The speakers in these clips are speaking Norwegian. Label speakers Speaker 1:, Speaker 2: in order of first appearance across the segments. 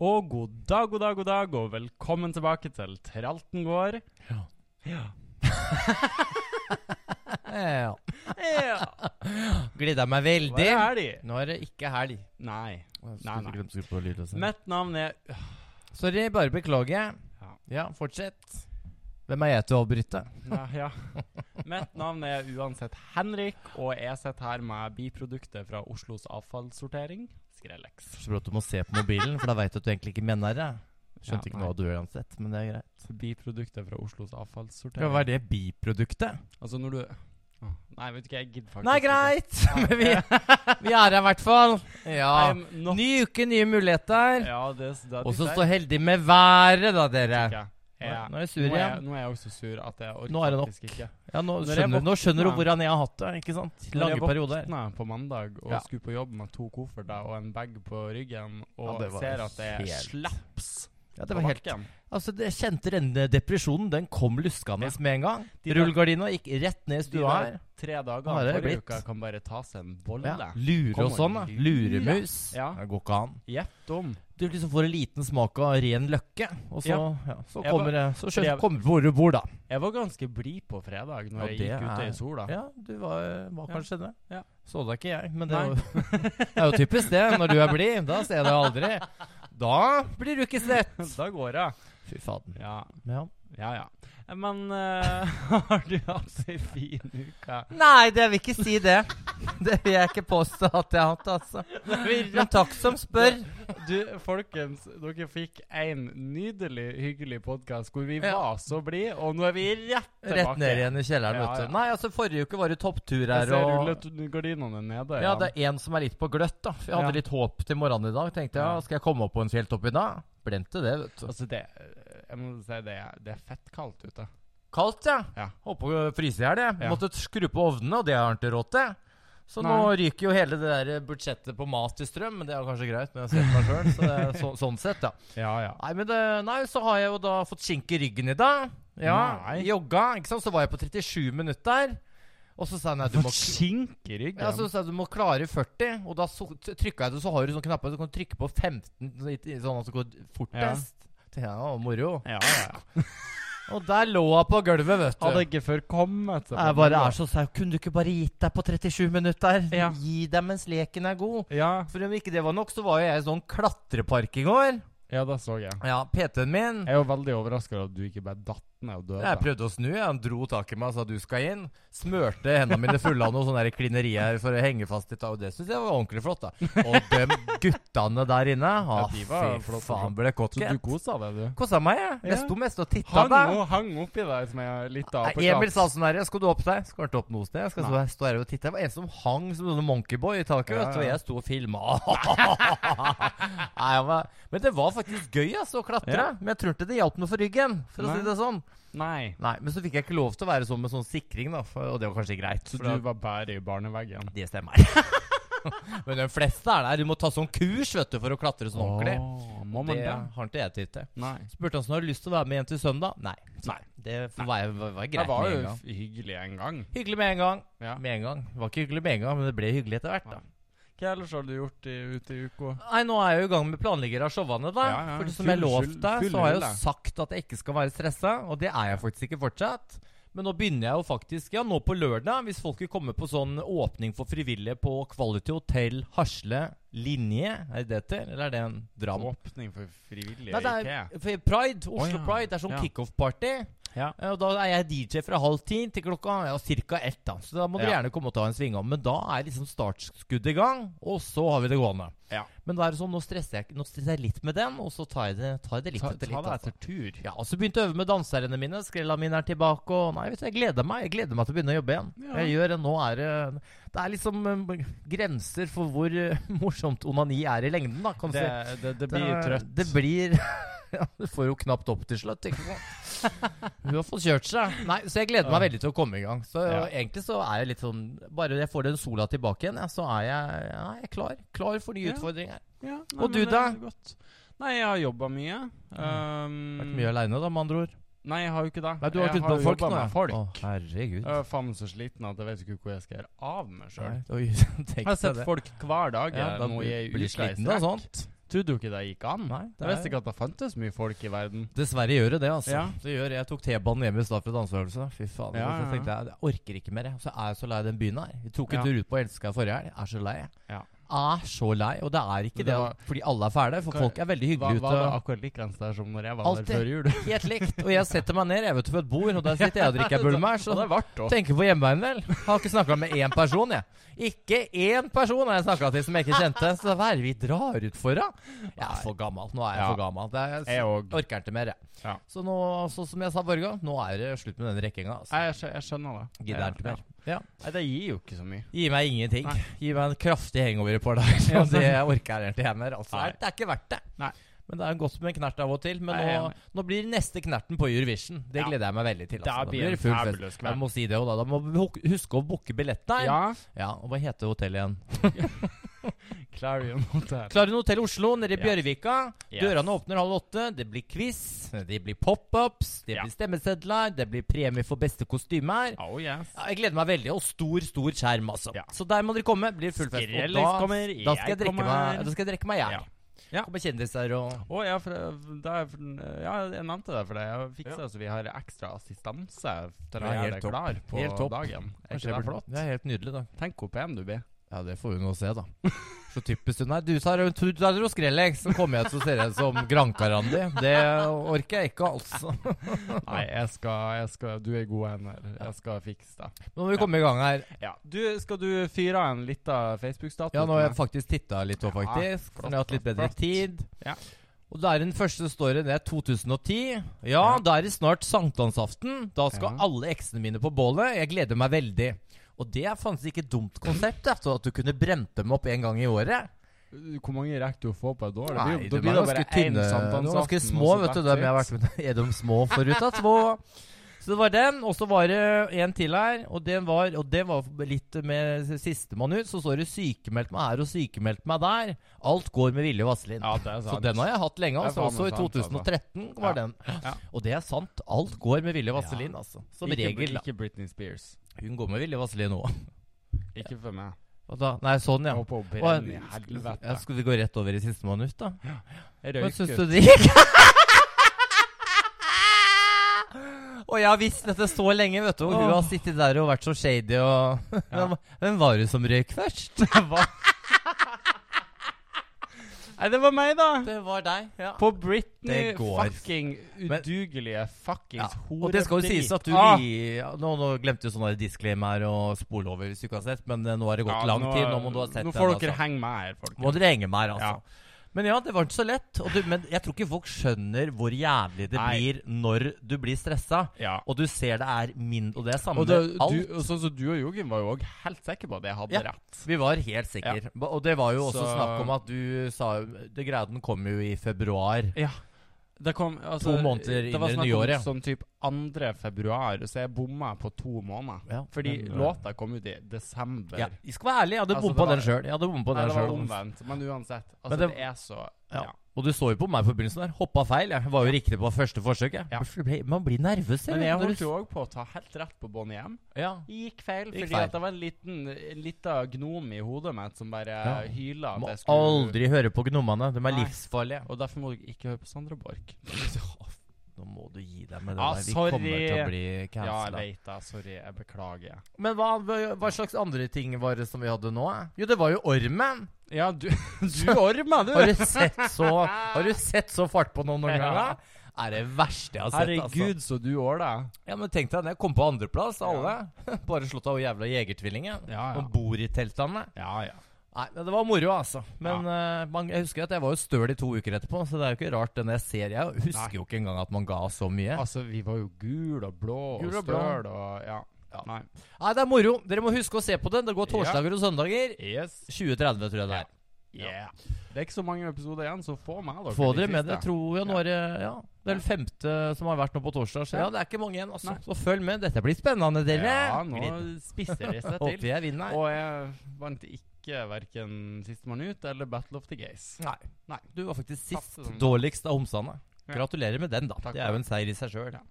Speaker 1: Og god dag, god dag, god dag, og velkommen tilbake til Tralten gård.
Speaker 2: Ja.
Speaker 1: Ja.
Speaker 2: Ja.
Speaker 1: ja.
Speaker 2: Gleder meg
Speaker 1: Hva
Speaker 2: veldig.
Speaker 1: er de?
Speaker 2: Nå er det ikke helg.
Speaker 1: Nei.
Speaker 2: Skulle
Speaker 1: nei.
Speaker 2: glemt å skru på lyd også.
Speaker 1: Mitt navn er
Speaker 2: Sorry, bare beklager.
Speaker 1: Ja.
Speaker 2: Ja, fortsett. Hvem er jeg til å avbryte?
Speaker 1: Nei, ja. Mitt navn er uansett Henrik, og jeg sitter her med biproduktet fra Oslos avfallssortering, Skrellex.
Speaker 2: Så bra at du må se på mobilen, for da veit du at du egentlig ikke mener det.
Speaker 1: Ja,
Speaker 2: Skjønte ikke
Speaker 1: nei.
Speaker 2: noe av du gjør uansett, men det er greit.
Speaker 1: Biproduktet fra Oslos avfallssortering.
Speaker 2: Ja, Hva er det biproduktet?
Speaker 1: Altså, når du Åh, Nei, vet du ikke, jeg gidder faktisk
Speaker 2: Nei, greit! Men vi, vi er her i hvert fall. Ja.
Speaker 1: I'm not
Speaker 2: Ny uke, nye muligheter.
Speaker 1: Ja, det, det, det
Speaker 2: Ah, Og så stå heldig med været, da, dere.
Speaker 1: jeg. Ja.
Speaker 2: Nå er jeg sur
Speaker 1: Nå er jeg,
Speaker 2: igjen.
Speaker 1: nå er jeg også sur at jeg orker
Speaker 2: Nå er det nok.
Speaker 1: faktisk ikke.
Speaker 2: Ja, nå,
Speaker 1: Når jeg
Speaker 2: skjønner, nå skjønner du
Speaker 1: våkna-
Speaker 2: hvordan jeg har hatt det. ikke sant?
Speaker 1: Når jeg
Speaker 2: Lange perioder.
Speaker 1: våkna på mandag og
Speaker 2: Ja.
Speaker 1: skulle på jobb med to kofferter og en bag på ryggen,
Speaker 2: Ja,
Speaker 1: og
Speaker 2: det var
Speaker 1: ser at det er
Speaker 2: helt-
Speaker 1: slaps
Speaker 2: Ja, det
Speaker 1: på
Speaker 2: var helt
Speaker 1: bakken.
Speaker 2: Altså, jeg kjente denne depresjonen. Den kom luskende
Speaker 1: Ja.
Speaker 2: med en gang.
Speaker 1: De der-
Speaker 2: Rullegardina gikk rett ned i
Speaker 1: De
Speaker 2: stua
Speaker 1: der
Speaker 2: her.
Speaker 1: tre
Speaker 2: Hva har
Speaker 1: dagene
Speaker 2: det
Speaker 1: forrige
Speaker 2: blitt?
Speaker 1: uka kan bare ta seg en bolle.
Speaker 2: Ja. Lure og
Speaker 1: Kom og
Speaker 2: sånn. da.
Speaker 1: lure.
Speaker 2: Luremus.
Speaker 1: Ja.
Speaker 2: Det går ikke an.
Speaker 1: Gjett om.
Speaker 2: Du liksom får en liten smak av ren løkke, og så,
Speaker 1: Ja.
Speaker 2: ja, så
Speaker 1: Jeg
Speaker 2: kommer det Så skjønner
Speaker 1: jeg-
Speaker 2: du kommer hvor du bor, da.
Speaker 1: Jeg var ganske blid på fredag når
Speaker 2: Ja,
Speaker 1: jeg
Speaker 2: det
Speaker 1: gikk ute
Speaker 2: er-
Speaker 1: i sola.
Speaker 2: Ja, du var, var
Speaker 1: Ja.
Speaker 2: kanskje det.
Speaker 1: Ja.
Speaker 2: Så deg ikke jeg, men det
Speaker 1: Nei.
Speaker 2: er, jo, det er jo typisk det. Når du er blid, da ser jeg deg aldri. Da blir du ikke sett.
Speaker 1: da går det.
Speaker 2: Fy faden.
Speaker 1: Ja,
Speaker 2: Ja.
Speaker 1: ja. ja. Men eh, har du hatt ei fin uke?
Speaker 2: Nei, det vil ikke si det. Det vil jeg ikke påstå at jeg har hatt, altså. Men takk som spør.
Speaker 1: Du, folkens, dere fikk en nydelig, hyggelig podkast hvor vi
Speaker 2: Ja.
Speaker 1: var så blide, og nå er vi rett tilbake.
Speaker 2: Rett ned igjen i kjelleren,
Speaker 1: Ja,
Speaker 2: vet
Speaker 1: ja.
Speaker 2: du. Nei, altså, forrige uke var det topptur
Speaker 1: Jeg
Speaker 2: her,
Speaker 1: ser
Speaker 2: og
Speaker 1: rullegardinene nede.
Speaker 2: Ja, det er en som er litt på gløtt, da. For jeg hadde
Speaker 1: Ja.
Speaker 2: litt håp til morgenen i dag. Tenkte jeg,
Speaker 1: Ja.
Speaker 2: ja, skal jeg komme opp på en fjelltopp i dag? Blendte det, vet du.
Speaker 1: Altså, det Jeg må si det, er- det er fett kaldt ute.
Speaker 2: Kaldt, ja.
Speaker 1: Ja.
Speaker 2: Holdt på å fryse i hjel, jeg.
Speaker 1: Ja.
Speaker 2: Måtte skru på ovnene, og det har jeg ikke råd til. Så nå
Speaker 1: Nei.
Speaker 2: ryker jo hele det der budsjettet på mat til strøm, men det er jo kanskje greit, men jeg har sett meg sjøl, så det er så, sånn sett, ja.
Speaker 1: Ja, ja.
Speaker 2: Nei, men det, nei, så har jeg jo da fått skinke i ryggen i dag. Ja,
Speaker 1: Nei.
Speaker 2: Jogga. ikke sant? Så var jeg på 37 minutter. Og så sa jeg nei, du må, Altså,
Speaker 1: skink i ryggen.
Speaker 2: ja, så sa jeg, du må klare 40. Og da so trykka jeg det, så har du sånne knapper, så kan du trykke på 15, så- i- i- sånn at det går fortest. Tenkte jeg, å, moro.
Speaker 1: ja, ja.
Speaker 2: Og der lå jeg på gulvet, vet du.
Speaker 1: Hadde ikke før kommet seg på
Speaker 2: jeg bare
Speaker 1: noe.
Speaker 2: er så sau. Kunne du ikke bare gitt deg på 37 minutter?
Speaker 1: Ja.
Speaker 2: Gi deg mens leken er god.
Speaker 1: ja.
Speaker 2: For om ikke det var nok, så var jo jeg i sånn klatrepark i går.
Speaker 1: ja, det så jeg.
Speaker 2: Ja, PT-en min.
Speaker 1: Jeg er jo veldig overraska over at du ikke bare datt ned og døde.
Speaker 2: Jeg prøvde å snu, jeg. han dro tak i meg og sa du skal inn. Smørte hendene mine fulle av noe sånn der klineri her for å henge fast i ta- Og det syns jeg var ordentlig flott, da. Og de guttene der inne,
Speaker 1: Ja,
Speaker 2: ah,
Speaker 1: de var
Speaker 2: fy
Speaker 1: flotte,
Speaker 2: faen, ble
Speaker 1: Så du
Speaker 2: kokket.
Speaker 1: kosa deg, du?
Speaker 2: Kosa meg, jeg.
Speaker 1: Ja.
Speaker 2: Jeg sto mest og titta
Speaker 1: Hang,
Speaker 2: der.
Speaker 1: hang oppi deg som jeg litt
Speaker 2: Nei,
Speaker 1: apekatt.
Speaker 2: Emil sa sånn herre, skal du opp deg? Skal ikke opp noe sted. Jeg skal stå
Speaker 1: Nei.
Speaker 2: her, stå her og titte. Det var en som hang som en sånn monkeyboy i taket,
Speaker 1: Ja,
Speaker 2: vet du. Og
Speaker 1: ja.
Speaker 2: jeg sto og filma. Nei, jeg var- Men det var faktisk gøy, altså, å klatre.
Speaker 1: Ja.
Speaker 2: Men jeg tror ikke det hjalp noe for ryggen, for å
Speaker 1: Nei.
Speaker 2: si det sånn.
Speaker 1: Nei.
Speaker 2: Nei, men så fikk jeg ikke lov til å være sånn med sånn sikring, da. For, og det var kanskje greit.
Speaker 1: Så
Speaker 2: for
Speaker 1: du
Speaker 2: at-
Speaker 1: var bare i barneveggen?
Speaker 2: Det stemmer. men de fleste er der. Du må ta sånn kurs vet du, for å klatre sånn ordentlig.
Speaker 1: Åh, må man
Speaker 2: Det
Speaker 1: det?
Speaker 2: har ikke jeg tid til.
Speaker 1: Nei.
Speaker 2: Spurte han om har du lyst til å være med igjen til søndag. Nei.
Speaker 1: Nei.
Speaker 2: Det var, var, var
Speaker 1: Det
Speaker 2: greit
Speaker 1: var
Speaker 2: med en
Speaker 1: jo
Speaker 2: gang.
Speaker 1: f- hyggelig en gang.
Speaker 2: Hyggelig med en gang.
Speaker 1: Ja.
Speaker 2: Med en gang. Det var ikke hyggelig med en gang, men det ble hyggelig etter hvert.
Speaker 1: Ja.
Speaker 2: da
Speaker 1: Hva ellers har du gjort i, ute i uka?
Speaker 2: Nei, nå er jeg jo i gang med planlegger av showene, da.
Speaker 1: Ja, ja.
Speaker 2: For som
Speaker 1: Full
Speaker 2: jeg lovte
Speaker 1: skyld-
Speaker 2: deg,
Speaker 1: full
Speaker 2: så har jeg jo
Speaker 1: rulle.
Speaker 2: sagt at jeg ikke skal være stressa, og det er jeg faktisk ikke fortsatt. Men nå begynner jeg jo faktisk, ja, nå på lørdag, hvis folk vil komme på sånn åpning for frivillige på Quality Hotel Hasle Linje, er det det heter? Eller er det en dram?
Speaker 1: Åpning for frivillige
Speaker 2: Nei, det
Speaker 1: i IKEA?
Speaker 2: er for Pride, Oslo
Speaker 1: ja.
Speaker 2: Pride, det er sånn
Speaker 1: Ja.
Speaker 2: kickoff-party.
Speaker 1: Ja.
Speaker 2: Eh, Og da er jeg DJ fra halv ti til klokka ja, ca. ett. da Så da må dere
Speaker 1: Ja.
Speaker 2: gjerne komme og ta en sving om. Men da er liksom startskuddet i gang, og så har vi det gående.
Speaker 1: Ja.
Speaker 2: Men da er det sånn, nå stresser jeg, nå stresser jeg litt med den, og så tar jeg det, tar jeg det litt
Speaker 1: Ta, ta
Speaker 2: etter
Speaker 1: deg
Speaker 2: litt. Altså.
Speaker 1: etter tur.
Speaker 2: Ja, og så begynte jeg å øve med danserne mine. Skrella mine er tilbake. Og nei, vet du, jeg gleder meg Jeg gleder meg til å begynne å jobbe igjen.
Speaker 1: Ja.
Speaker 2: Jeg gjør det nå er det- Det er liksom eh, grenser for hvor eh, morsomt onani er i lengden, da. Kan du
Speaker 1: Det,
Speaker 2: si.
Speaker 1: det, det blir jo
Speaker 2: Det-
Speaker 1: trøtt.
Speaker 2: Det blir ja, Du får jo knapt opp til slutt. Ikke sant? Hun har fått kjørt seg. Nei, Så jeg gleder meg veldig til å komme i gang. Så
Speaker 1: Ja.
Speaker 2: egentlig så er jeg litt sånn Bare jeg får den sola tilbake igjen, ja, så er jeg, ja, jeg er klar. Klar for nye
Speaker 1: Ja.
Speaker 2: utfordringer.
Speaker 1: Ja, nei,
Speaker 2: Og
Speaker 1: men
Speaker 2: du,
Speaker 1: det er
Speaker 2: da? Mm.
Speaker 1: godt. Nei, jeg har jobba mye.
Speaker 2: Vært
Speaker 1: Um,
Speaker 2: mye aleine, da, med andre ord.
Speaker 1: Nei, jeg har jo ikke det.
Speaker 2: Nei, du har vært
Speaker 1: jeg
Speaker 2: ute med folk
Speaker 1: jobbet
Speaker 2: nå? ja.
Speaker 1: med folk.
Speaker 2: Å, herregud.
Speaker 1: Jeg er faen så sliten at jeg vet ikke hvor jeg skal gjøre av meg sjøl.
Speaker 2: Nei, oi,
Speaker 1: Jeg har
Speaker 2: tenk
Speaker 1: sett
Speaker 2: deg det.
Speaker 1: folk hver dag. eh,
Speaker 2: Ja,
Speaker 1: jeg,
Speaker 2: da
Speaker 1: nå
Speaker 2: blir-
Speaker 1: i ei
Speaker 2: blir
Speaker 1: uke i
Speaker 2: sliten
Speaker 1: strekk.
Speaker 2: av sånt.
Speaker 1: Trodde jo ikke det gikk an.
Speaker 2: Nei, det
Speaker 1: Jeg visste
Speaker 2: er-
Speaker 1: ikke at det fantes mye folk i verden.
Speaker 2: Dessverre gjør det det, altså.
Speaker 1: Ja.
Speaker 2: Det gjør, jeg tok T-banen hjemme i stad fra danseøvelse. Fy
Speaker 1: Ja,
Speaker 2: faen. så
Speaker 1: ja, ja.
Speaker 2: tenkte jeg jeg orker ikke mer. jeg. Så er jeg så lei den byen her. Vi tok en
Speaker 1: Ja.
Speaker 2: tur ut på Elska forrige helg. Jeg Er så lei. jeg.
Speaker 1: Ja.
Speaker 2: Er så lei. Og det er ikke
Speaker 1: Men
Speaker 2: det,
Speaker 1: det var-
Speaker 2: fordi alle er fæle. For
Speaker 1: Hva-
Speaker 2: folk er veldig
Speaker 1: Var,
Speaker 2: hyggelige
Speaker 1: var det
Speaker 2: ute.
Speaker 1: akkurat likeens der som når jeg var
Speaker 2: Alt
Speaker 1: der før jul?
Speaker 2: Helt likt. Og jeg setter meg ned jeg vet, på et bord, og der sitter jeg og drikker bulmers.
Speaker 1: Og
Speaker 2: Og
Speaker 1: det ble det.
Speaker 2: tenker på hjemmeveien, vel. Har ikke snakka med én person, jeg. Ikke én person har jeg snakka til som jeg ikke kjente. Så hva er det vi drar ut for, da? Jeg er for gammel. Nå er jeg
Speaker 1: Ja.
Speaker 2: for gammel. Det er,
Speaker 1: Jeg òg.
Speaker 2: Orker ikke mer, jeg.
Speaker 1: Ja.
Speaker 2: Så nå, så som jeg sa forrige gang, nå er det slutt med den rekkinga. Altså.
Speaker 1: Jeg, skjø- jeg skjønner det.
Speaker 2: Gidder
Speaker 1: Ja,
Speaker 2: ikke mer.
Speaker 1: ja. Nei, det gir jo ikke så mye.
Speaker 2: Gi meg ingenting.
Speaker 1: Nei.
Speaker 2: Gi meg en kraftig hangover i et par dager.
Speaker 1: Ja,
Speaker 2: og det orker jeg ikke mer. Altså.
Speaker 1: Nei.
Speaker 2: Det er ikke verdt det.
Speaker 1: Nei.
Speaker 2: Men det er godt med en knert av og til. Men
Speaker 1: Nei, jeg er
Speaker 2: nå, nå blir neste knerten på Eurovision. Det
Speaker 1: Ja.
Speaker 2: gleder jeg meg veldig til.
Speaker 1: Da
Speaker 2: Altså. Da
Speaker 1: blir det
Speaker 2: blir det full fest.
Speaker 1: fabulous kveld.
Speaker 2: Jeg må si det også, da. Da må vi huk- huske å booke billett der.
Speaker 1: Ja.
Speaker 2: Ja, og hva heter hotellet igjen?
Speaker 1: Clarion Hotel.
Speaker 2: Klarion Hotell Oslo nede i
Speaker 1: Yes.
Speaker 2: Bjørvika.
Speaker 1: Yes.
Speaker 2: Dørene åpner halv åtte. Det blir quiz, det blir pop-ups, det
Speaker 1: Ja.
Speaker 2: blir stemmesedler, det blir premie for beste kostymer.
Speaker 1: Oh yes.
Speaker 2: Ja, jeg gleder meg veldig, og stor, stor skjerm, altså.
Speaker 1: Ja.
Speaker 2: Så der må dere komme. Blir full fest. Og
Speaker 1: Skrellis
Speaker 2: da,
Speaker 1: kommer,
Speaker 2: da, skal jeg
Speaker 1: jeg
Speaker 2: drikke meg,
Speaker 1: kommer.
Speaker 2: da skal jeg drikke meg i hjel.
Speaker 1: Ja.
Speaker 2: Ja. Kommer kjendiser og
Speaker 1: Å ja, for det- da, er- for den- eh, ja, jeg nevnte det for deg. Jeg fiksa så vi har ekstra assistanse til å
Speaker 2: Ja,
Speaker 1: gjøre
Speaker 2: helt
Speaker 1: deg
Speaker 2: topp.
Speaker 1: klar på
Speaker 2: Helt topp.
Speaker 1: dagen. Er
Speaker 2: Kanskje
Speaker 1: ikke
Speaker 2: jeg
Speaker 1: det
Speaker 2: burde-
Speaker 1: flott?
Speaker 2: Det er helt nydelig, da.
Speaker 1: Tenk hvor pen du blir.
Speaker 2: Ja, det får hun nå se, da. Så typisk hun er. Du tar du tar dro Skrellex, så kommer jeg til å se deg som Grankarandi. Det orker jeg ikke, altså.
Speaker 1: Nei, jeg skal, jeg skal Du er i gode hender. Jeg skal fikse det.
Speaker 2: Nå må vi komme i gang her.
Speaker 1: Ja. Du, skal du fyre av en lita Facebook-status?
Speaker 2: Ja, nå har jeg
Speaker 1: til meg?
Speaker 2: faktisk titta litt òg,
Speaker 1: Ja,
Speaker 2: faktisk.
Speaker 1: flott,
Speaker 2: for jeg har hatt litt
Speaker 1: flott,
Speaker 2: bedre
Speaker 1: flott.
Speaker 2: tid.
Speaker 1: Ja.
Speaker 2: Og der den første står det, det er 2010. Ja,
Speaker 1: Ja.
Speaker 2: da er det snart sankthansaften. Da skal
Speaker 1: Ja.
Speaker 2: alle eksene mine på bålet. Jeg gleder meg veldig. Og det er faktisk ikke et dumt konsept, altså, at du kunne brent dem opp en gang i året.
Speaker 1: Hvor mange rekker du å få på et år?
Speaker 2: Nei,
Speaker 1: det
Speaker 2: de
Speaker 1: blir
Speaker 2: er
Speaker 1: jo da bare
Speaker 2: ganske
Speaker 1: én
Speaker 2: tynne.
Speaker 1: sankthansaften.
Speaker 2: De er ganske små,
Speaker 1: og så
Speaker 2: vet du,
Speaker 1: that's
Speaker 2: dem jeg har
Speaker 1: it.
Speaker 2: vært med Er de små forut, da? Små. Så det var den, og så var det en til her. Og den var, og det var litt med sistemann ut. Så står det 'sykemeldt meg her' og 'sykemeldt meg der'. Alt går med Vilje Vasselin.
Speaker 1: Ja, det er sant.
Speaker 2: Så den har jeg hatt
Speaker 1: Det
Speaker 2: lenge.
Speaker 1: er
Speaker 2: Altså.
Speaker 1: faen meg
Speaker 2: Også i
Speaker 1: sant,
Speaker 2: 2013 var
Speaker 1: Ja.
Speaker 2: den.
Speaker 1: Ja.
Speaker 2: Og det er sant. Alt går med Vilje Vaselin, altså. Som
Speaker 1: ikke,
Speaker 2: regel. da.
Speaker 1: Ikke Britney Spears.
Speaker 2: Hun går med Vilje Vaselin nå.
Speaker 1: Ikke for meg.
Speaker 2: Og da- Nei, sånn, ja.
Speaker 1: Jeg håper hun
Speaker 2: Og-
Speaker 1: brenner i
Speaker 2: Ja,
Speaker 1: helvete.
Speaker 2: skal vi gå rett over i siste minutt, da?
Speaker 1: Jeg
Speaker 2: Hva
Speaker 1: røyker.
Speaker 2: syns du det gikk? Og jeg har visst dette så lenge, vet du. Og du har sittet der og vært så shady og Hvem- Hvem var det som røyk først?
Speaker 1: Nei, det var meg, da!
Speaker 2: Det var deg. ja
Speaker 1: På Britney
Speaker 2: Det går.
Speaker 1: fucking
Speaker 2: Men-
Speaker 1: udugelige fuckings hore...
Speaker 2: Og det skal jo sies at du
Speaker 1: Ah!
Speaker 2: li- ja, nå, nå glemte jo sånne disclaimer og spole over hvis du ikke har sett, men eh, nå har det gått
Speaker 1: Ja,
Speaker 2: lang tid. Nå må du ha sett
Speaker 1: Nå får
Speaker 2: den.
Speaker 1: dere
Speaker 2: Altså.
Speaker 1: henge med her,
Speaker 2: Må
Speaker 1: folkens.
Speaker 2: dere henge med her, altså. Men ja, det var ikke så lett. Og du, men jeg tror ikke folk skjønner hvor jævlig det
Speaker 1: Nei.
Speaker 2: blir når du blir stressa.
Speaker 1: Ja.
Speaker 2: Og du ser det er min Og det er samme
Speaker 1: Og, da,
Speaker 2: med alt.
Speaker 1: du, og sånn som du og Jogen var jo òg helt sikre på at jeg hadde
Speaker 2: Ja.
Speaker 1: rett.
Speaker 2: Vi var helt sikre. Ba- Og det var jo også
Speaker 1: Så-
Speaker 2: snakk om at du sa jo- Det greia den kom jo i februar.
Speaker 1: Det kom, altså,
Speaker 2: To måneder inn
Speaker 1: det var
Speaker 2: i det
Speaker 1: snakk
Speaker 2: nye
Speaker 1: om
Speaker 2: året.
Speaker 1: Sånn typ 2. februar, så jeg bomma på to måneder.
Speaker 2: Ja,
Speaker 1: Fordi
Speaker 2: men- eh, øh,
Speaker 1: låta kom ut i desember.
Speaker 2: Ja, jeg skal være ærlig, jeg hadde
Speaker 1: Altså,
Speaker 2: bompa
Speaker 1: det var-
Speaker 2: den sjøl. Jeg hadde bompa
Speaker 1: Nei,
Speaker 2: den
Speaker 1: det var
Speaker 2: sjøl.
Speaker 1: omvendt, men uansett. Altså,
Speaker 2: Men
Speaker 1: det,
Speaker 2: det-
Speaker 1: er så
Speaker 2: Ja.
Speaker 1: ja.
Speaker 2: Og du så jo på meg på begynnelsen der. Hoppa feil. Jeg var jo riktig på første forsøk. Jeg.
Speaker 1: Ja.
Speaker 2: Hvorfor ble- Man blir nervøs.
Speaker 1: Men jeg
Speaker 2: når
Speaker 1: holdt
Speaker 2: du-
Speaker 1: jo òg på å ta helt rett på Bonnie M.
Speaker 2: ja.
Speaker 1: Gikk feil, fordi
Speaker 2: Gikk feil.
Speaker 1: At det var en liten en lita gnom i hodet mitt som bare
Speaker 2: Ja.
Speaker 1: hyla
Speaker 2: Må
Speaker 1: at jeg skulle
Speaker 2: aldri høre på gnommene. De er
Speaker 1: Nei.
Speaker 2: livsfarlige.
Speaker 1: Og derfor må du ikke høre på Sandra Borch.
Speaker 2: Nå må du gi deg med det
Speaker 1: Ah,
Speaker 2: der. Vi
Speaker 1: sorry.
Speaker 2: kommer til å bli
Speaker 1: Ja, jeg
Speaker 2: cancela.
Speaker 1: veit det. Sorry, jeg beklager.
Speaker 2: Men hva, hva slags andre ting var det som vi hadde nå? eh? Jo, det var jo ormen.
Speaker 1: Ja, du, du orma, du!
Speaker 2: Har du sett så, har du sett så fart på noen noen
Speaker 1: Ja.
Speaker 2: gang? da? Er det verste jeg har sett.
Speaker 1: Herregud, så du åla.
Speaker 2: Altså. Ja, men tenk deg det. Kom på andreplass, alle. Bare slått av hun jævla jegertvillingen.
Speaker 1: Ja, ja.
Speaker 2: Om bord i teltene.
Speaker 1: Ja, ja.
Speaker 2: Nei, men Det var moro, altså. Men eh, man, jeg husker at jeg var jo støl i to uker etterpå, så det er jo ikke rart. Den jeg ser, jeg husker
Speaker 1: Nei.
Speaker 2: jo ikke engang at man ga så mye.
Speaker 1: Altså, vi var jo gul og blå
Speaker 2: Gul og
Speaker 1: og
Speaker 2: blå.
Speaker 1: støl og Ja. Nei.
Speaker 2: Nei, det er moro. Dere må huske å se på den. Det går torsdager og søndager.
Speaker 1: Yes.
Speaker 2: 2030, tror jeg det
Speaker 1: Ja.
Speaker 2: er.
Speaker 1: Yeah. Det er ikke så mange episoder igjen, så få med dere.
Speaker 2: Få
Speaker 1: de
Speaker 2: dere med
Speaker 1: siste.
Speaker 2: det. Jeg tror jo nå er det ja, det er den femte som har vært nå på torsdag. Så
Speaker 1: Ja.
Speaker 2: ja, det er ikke mange igjen, altså.
Speaker 1: Nei.
Speaker 2: Så følg med. Dette blir spennende, dere.
Speaker 1: Ja,
Speaker 2: Gleder
Speaker 1: nå spisser de seg
Speaker 2: Håper
Speaker 1: til.
Speaker 2: jeg vinner.
Speaker 1: Og jeg vant ikke verken Sistemann ut eller Battle of the Gays.
Speaker 2: Nei. Nei. Du var faktisk sist
Speaker 1: Tapte den.
Speaker 2: dårligst av homsene.
Speaker 1: Ja.
Speaker 2: Gratulerer med den, da.
Speaker 1: Takk
Speaker 2: det er
Speaker 1: for
Speaker 2: jo en seier i seg sjøl.
Speaker 1: Ja.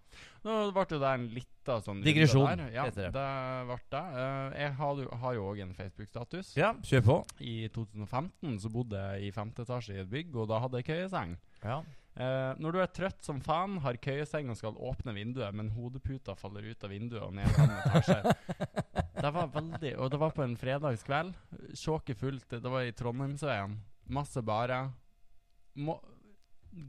Speaker 1: Nå ble det der en lita sånn runde
Speaker 2: Digresjon,
Speaker 1: der. ja,
Speaker 2: heter det.
Speaker 1: det. ble det. Eh, jeg har, jo- har jo òg en Facebook-status.
Speaker 2: Ja, kjør på.
Speaker 1: I 2015 så bodde jeg i femte etasje i et bygg, og da hadde jeg køyeseng.
Speaker 2: Ja.
Speaker 1: Eh, når du er trøtt som faen, har køyeseng og skal åpne vinduet, men hodeputa faller ut av vinduet og ned fem etasjer. Det var veldig Og det var på en fredagskveld. Sjåket fullt. Det var i Trondheimsveien. Masse barer. Må,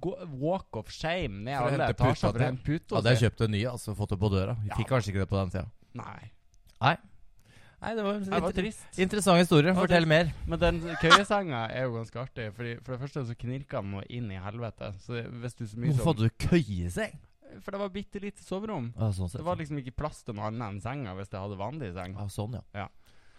Speaker 1: gå, walk of shame ned
Speaker 2: For å
Speaker 1: alle
Speaker 2: hente puta
Speaker 1: etasjer for
Speaker 2: til.
Speaker 1: å hente puta
Speaker 2: Hadde jeg kjøpt en ny, altså fått det på døra. Vi
Speaker 1: Ja.
Speaker 2: fikk kanskje ikke det på den tida.
Speaker 1: Nei.
Speaker 2: Nei, det var,
Speaker 1: Det var
Speaker 2: inter-
Speaker 1: trist.
Speaker 2: Interessant historie.
Speaker 1: Det var
Speaker 2: Fortell mer.
Speaker 1: Men den køyesenga er jo ganske artig. Fordi for det første så knirka den noe inn i helvete. Så det- hvis du så mye
Speaker 2: Hvorfor
Speaker 1: som
Speaker 2: hadde du køyeseng?
Speaker 1: For det var bitte lite soverom.
Speaker 2: Ah, sånn sett.
Speaker 1: Det var liksom ikke plass til noe annet enn senga hvis jeg hadde vanlig seng.
Speaker 2: ah, sånn, ja.
Speaker 1: Ja.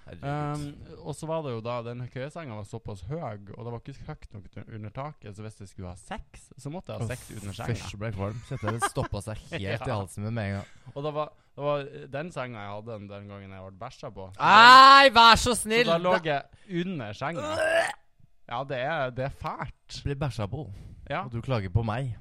Speaker 2: Herregud.
Speaker 1: Um, og så var det jo da den køyesenga var såpass høy, og det var ikke høyt nok til- under taket, så hvis jeg skulle ha sex, så måtte jeg ha sex under senga.
Speaker 2: Først ble jeg kvalm. Kjente det stoppa seg helt
Speaker 1: Ja.
Speaker 2: i halsen min med en gang.
Speaker 1: Og det var, det var den senga jeg hadde den gangen jeg ble bæsja på. Så da-
Speaker 2: Nei, vær så
Speaker 1: Så
Speaker 2: snill!
Speaker 1: da lå jeg under senga. Ja, det er, det er fælt.
Speaker 2: Blir bæsja på,
Speaker 1: Ja,
Speaker 2: og du klager på meg.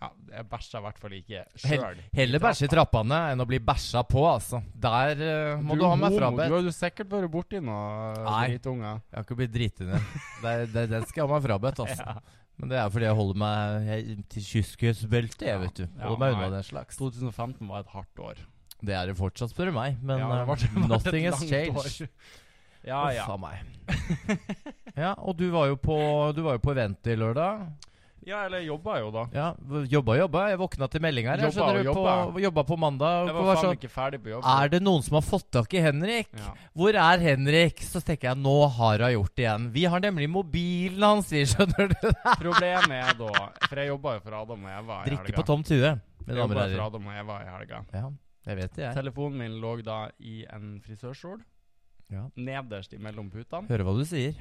Speaker 1: ja jeg bæsja i hvert fall ikke
Speaker 2: Hell-
Speaker 1: sjøl.
Speaker 2: Heller bæsje i trappene enn å bli bæsja på, altså. Der eh, må du, ha meg
Speaker 1: Du
Speaker 2: frabedt.
Speaker 1: har jo sikkert vært borti noe
Speaker 2: Nei.
Speaker 1: dritunger.
Speaker 2: Jeg har ikke blitt driti ned. Der- der- Den skal jeg ha meg frabedt, altså. Men det er fordi jeg holder meg jeg, til kyskhetsbeltet, jeg,
Speaker 1: Ja.
Speaker 2: vet du.
Speaker 1: Ja,
Speaker 2: Holder meg
Speaker 1: nei.
Speaker 2: unna den slags.
Speaker 1: 2015 var et hardt år.
Speaker 2: Det er det fortsatt, spør du meg. Men
Speaker 1: Ja, det ble-
Speaker 2: eh,
Speaker 1: det ble et
Speaker 2: nothing has
Speaker 1: langt
Speaker 2: changed.
Speaker 1: år. Ja, ja.
Speaker 2: Uff a meg. ja, og du var jo på Du var jo på event i lørdag.
Speaker 1: Ja, eller jeg jobba jo, da.
Speaker 2: Ja, v- Jobba, jobba. Jeg våkna til melding her. jeg,
Speaker 1: Jobba
Speaker 2: skjønner
Speaker 1: og
Speaker 2: du, På, jobba på mandag.
Speaker 1: Jeg
Speaker 2: og
Speaker 1: var
Speaker 2: var
Speaker 1: faen
Speaker 2: sånn,
Speaker 1: ikke ferdig på jobb.
Speaker 2: er det noen som har fått tak i Henrik?
Speaker 1: Ja.
Speaker 2: Hvor er Henrik? Så tenker jeg, nå har hun gjort det igjen. Vi har nemlig mobilen hans, vi, skjønner du.
Speaker 1: Problemet er da For jeg jobba jo for Adam og Eva i
Speaker 2: Drikke
Speaker 1: helga.
Speaker 2: på tom tue. Mine
Speaker 1: jeg
Speaker 2: damer og
Speaker 1: jobba for
Speaker 2: herrer.
Speaker 1: Adam og Eva i helga.
Speaker 2: Ja, jeg vet det, jeg.
Speaker 1: Telefonen min lå da i en frisørstol.
Speaker 2: Ja.
Speaker 1: Nederst imellom putene.
Speaker 2: Hører hva du sier.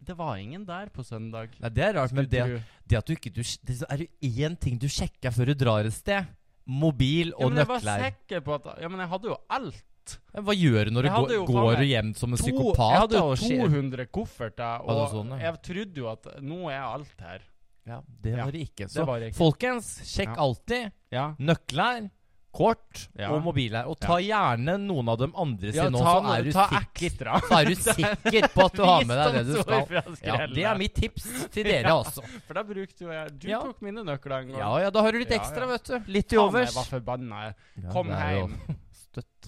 Speaker 1: Det var ingen der på søndag.
Speaker 2: Nei, det er rart, men det,
Speaker 1: Skulle tro.
Speaker 2: det at du ikke du, det, så Er det én ting du sjekker før du drar et sted? Mobil
Speaker 1: ja,
Speaker 2: og
Speaker 1: men jeg var
Speaker 2: nøkler.
Speaker 1: sikker på at Ja, men jeg hadde jo alt.
Speaker 2: Ja, Hva gjør du når du
Speaker 1: Jeg hadde
Speaker 2: går,
Speaker 1: jo faen
Speaker 2: går
Speaker 1: meg
Speaker 2: hjem som en
Speaker 1: To-
Speaker 2: psykopat?
Speaker 1: jeg hadde
Speaker 2: da,
Speaker 1: jo
Speaker 2: og skjer-
Speaker 1: 200 kofferter, og
Speaker 2: Var det sånn, ja?
Speaker 1: jeg trodde jo at nå er alt her.
Speaker 2: Ja, det
Speaker 1: Ja,
Speaker 2: var det ikke. Så
Speaker 1: det var det ikke.
Speaker 2: folkens, sjekk
Speaker 1: Ja.
Speaker 2: alltid
Speaker 1: Ja.
Speaker 2: nøkler, kort
Speaker 1: Ja.
Speaker 2: og mobiler. Og ta gjerne noen av dem andre
Speaker 1: Ja,
Speaker 2: sine
Speaker 1: ta,
Speaker 2: også, så er du
Speaker 1: ta
Speaker 2: sikker.
Speaker 1: ekstra.
Speaker 2: Så er du sikker på at du har med deg det du
Speaker 1: Visdom står
Speaker 2: skal.
Speaker 1: fra
Speaker 2: Ja,
Speaker 1: skrellen.
Speaker 2: det er mitt tips til dere også.
Speaker 1: For da brukte jo jeg Du
Speaker 2: Ja.
Speaker 1: tok mine nøkler en gang.
Speaker 2: Ja ja, da har du litt
Speaker 1: Ja,
Speaker 2: ekstra,
Speaker 1: ja.
Speaker 2: vet du. Litt til
Speaker 1: Faen, jeg
Speaker 2: overs.
Speaker 1: var forbanna. Jeg
Speaker 2: Ja,
Speaker 1: Kom
Speaker 2: det er jo-
Speaker 1: hjem,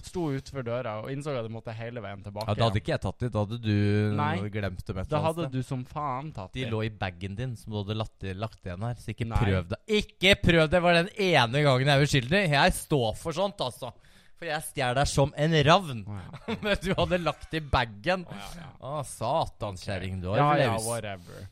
Speaker 1: sto utfor døra og innså at jeg måtte hele veien tilbake.
Speaker 2: Ja, Da hadde ikke jeg tatt det. Da hadde du
Speaker 1: Nei.
Speaker 2: glemt dem
Speaker 1: igjen.
Speaker 2: et
Speaker 1: da
Speaker 2: eller annet
Speaker 1: hadde
Speaker 2: sted.
Speaker 1: du som faen tatt
Speaker 2: De
Speaker 1: det.
Speaker 2: lå i bagen din, som du hadde lagt, lagt igjen her. Så ikke
Speaker 1: Nei.
Speaker 2: prøv det. Ikke prøv det! var den ene gangen jeg er uskyldig. Jeg står for sånt, altså. For jeg stjal deg som en ravn.
Speaker 1: Å, ja.
Speaker 2: Men du hadde lagt i bagen.
Speaker 1: Å, ja, ja.
Speaker 2: Å, satanskjerring, du
Speaker 1: ja,
Speaker 2: har
Speaker 1: ja,
Speaker 2: flaus.
Speaker 1: whatever.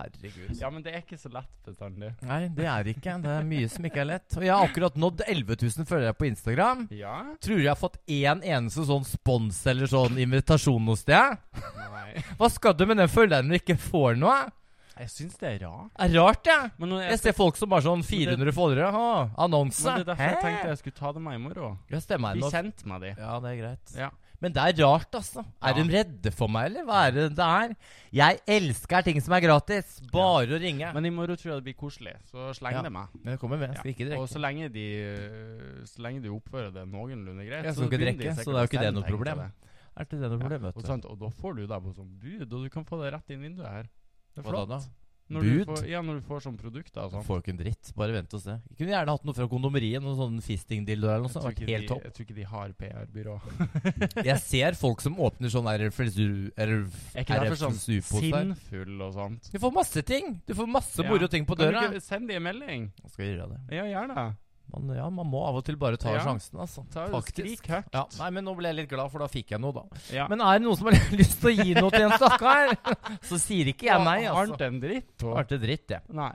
Speaker 2: Herregud.
Speaker 1: Ja, men det er ikke så lett bestandig.
Speaker 2: Nei, det er det ikke. Det er mye som ikke er lett. Og jeg har akkurat nådd 11 000 følgere på Instagram.
Speaker 1: Ja?
Speaker 2: Tror du jeg har fått én eneste sånn spons eller sånn invitasjon hos deg?
Speaker 1: Nei.
Speaker 2: Hva skal du med den følgeren når du ikke får noe?
Speaker 1: Jeg syns det er rart.
Speaker 2: Det er rart, jeg.
Speaker 1: Men når jeg,
Speaker 2: Jeg ser folk som bare sånn
Speaker 1: det-
Speaker 2: 400 foldere. Ha, annonse.
Speaker 1: men det er derfor jeg
Speaker 2: Hæ?
Speaker 1: tenkte jeg skulle ta det med i morgen.
Speaker 2: Ja, stemmer
Speaker 1: Bli
Speaker 2: nå.
Speaker 1: kjent med de.
Speaker 2: Ja, det er greit.
Speaker 1: Ja.
Speaker 2: Men det er rart, altså. Er
Speaker 1: Ja.
Speaker 2: de redde for meg, eller? Hva er det det er? Jeg elsker ting som er gratis. Bare å ringe.
Speaker 1: Men i morgen tror jeg det blir koselig, så sleng
Speaker 2: Ja.
Speaker 1: det med.
Speaker 2: Men jeg kommer med.
Speaker 1: Ja.
Speaker 2: Skal ikke
Speaker 1: Og
Speaker 2: drikke.
Speaker 1: så lenge de øh, Så lenge de oppfører det noenlunde greit
Speaker 2: Jeg skal ikke
Speaker 1: begynner de
Speaker 2: drikke,
Speaker 1: sikkert
Speaker 2: så det er jo
Speaker 1: å
Speaker 2: ikke det
Speaker 1: selge
Speaker 2: noe
Speaker 1: ting til
Speaker 2: problem.
Speaker 1: det.
Speaker 2: Er ikke det noe problem,
Speaker 1: Og,
Speaker 2: vet du.
Speaker 1: sant, og da får du deg på sånn bud, og du kan få det rett inn vinduet her. Det er
Speaker 2: Hva da
Speaker 1: flott.
Speaker 2: da?
Speaker 1: Når du
Speaker 2: Bud?
Speaker 1: får, ja, når du får sånn produkter og
Speaker 2: Jeg
Speaker 1: sånn.
Speaker 2: Får ikke en dritt. Bare vent og se. Jeg kunne gjerne hatt noe fra kondomeriet. Noen sånne fistingdildoer eller noe
Speaker 1: Jeg
Speaker 2: sånt.
Speaker 1: tror,
Speaker 2: Vært
Speaker 1: ikke
Speaker 2: helt
Speaker 1: de,
Speaker 2: topp.
Speaker 1: jeg tror ikke de har PR-byrå.
Speaker 2: Jeg ser folk som åpner sånn der flesu- eller
Speaker 1: Er ikke derfor sånn
Speaker 2: RFSU-pose her.
Speaker 1: Sinnfull og sånt.
Speaker 2: Du får masse ting! Du får masse
Speaker 1: Ja.
Speaker 2: moro ting på
Speaker 1: Kan du
Speaker 2: døra.
Speaker 1: ikke send de en melding?
Speaker 2: Jeg skal gjøre det.
Speaker 1: Ja, gjerne.
Speaker 2: Man, ja, man må av og til bare ta
Speaker 1: Ja.
Speaker 2: sjansen, altså.
Speaker 1: Ta
Speaker 2: Faktisk.
Speaker 1: Skrik høyt.
Speaker 2: Ja, nei, men nå ble jeg litt glad, for da fikk jeg noe, da.
Speaker 1: Ja.
Speaker 2: Men er det noen som har lyst til å gi noe til en stakkar, så sier ikke jeg nei,
Speaker 1: Har han
Speaker 2: altså.
Speaker 1: en dritt på?
Speaker 2: Arnt er dritt, det.
Speaker 1: Nei.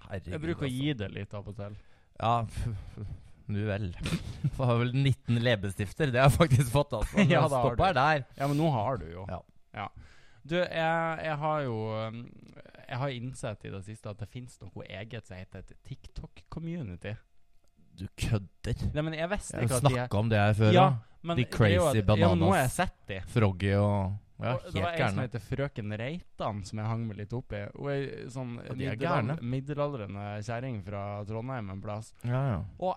Speaker 2: Herregud.
Speaker 1: Jeg bruker å
Speaker 2: altså.
Speaker 1: gi det litt av og til.
Speaker 2: Ja, f- f- nu vel. For jeg har vel 19 leppestifter, det har jeg faktisk fått, altså. Men
Speaker 1: Ja, det har
Speaker 2: stopper der.
Speaker 1: Ja, men nå har du jo.
Speaker 2: Ja.
Speaker 1: Ja. Du, jeg, jeg har jo um, Jeg har innsett i det siste at det fins noe eget som heter et TikTok-community.
Speaker 2: Du kødder.
Speaker 1: Nei, men jeg visste
Speaker 2: Jeg
Speaker 1: ikke
Speaker 2: har
Speaker 1: at de er
Speaker 2: snakka om det her før.
Speaker 1: Ja,
Speaker 2: da.
Speaker 1: men
Speaker 2: De
Speaker 1: det er jo
Speaker 2: crazy
Speaker 1: at- Ja, men nå har jeg
Speaker 2: bananas.
Speaker 1: sett de.
Speaker 2: Froggy og Ja,
Speaker 1: Og
Speaker 2: helt
Speaker 1: det var ei som
Speaker 2: gærne.
Speaker 1: heter frøken Reitan, som jeg hang meg litt opp i. Hun er ei sånn
Speaker 2: Ja, de er
Speaker 1: middelal
Speaker 2: gærne.
Speaker 1: middelaldrende kjerring fra Trondheim en plass.
Speaker 2: Ja, ja.
Speaker 1: Og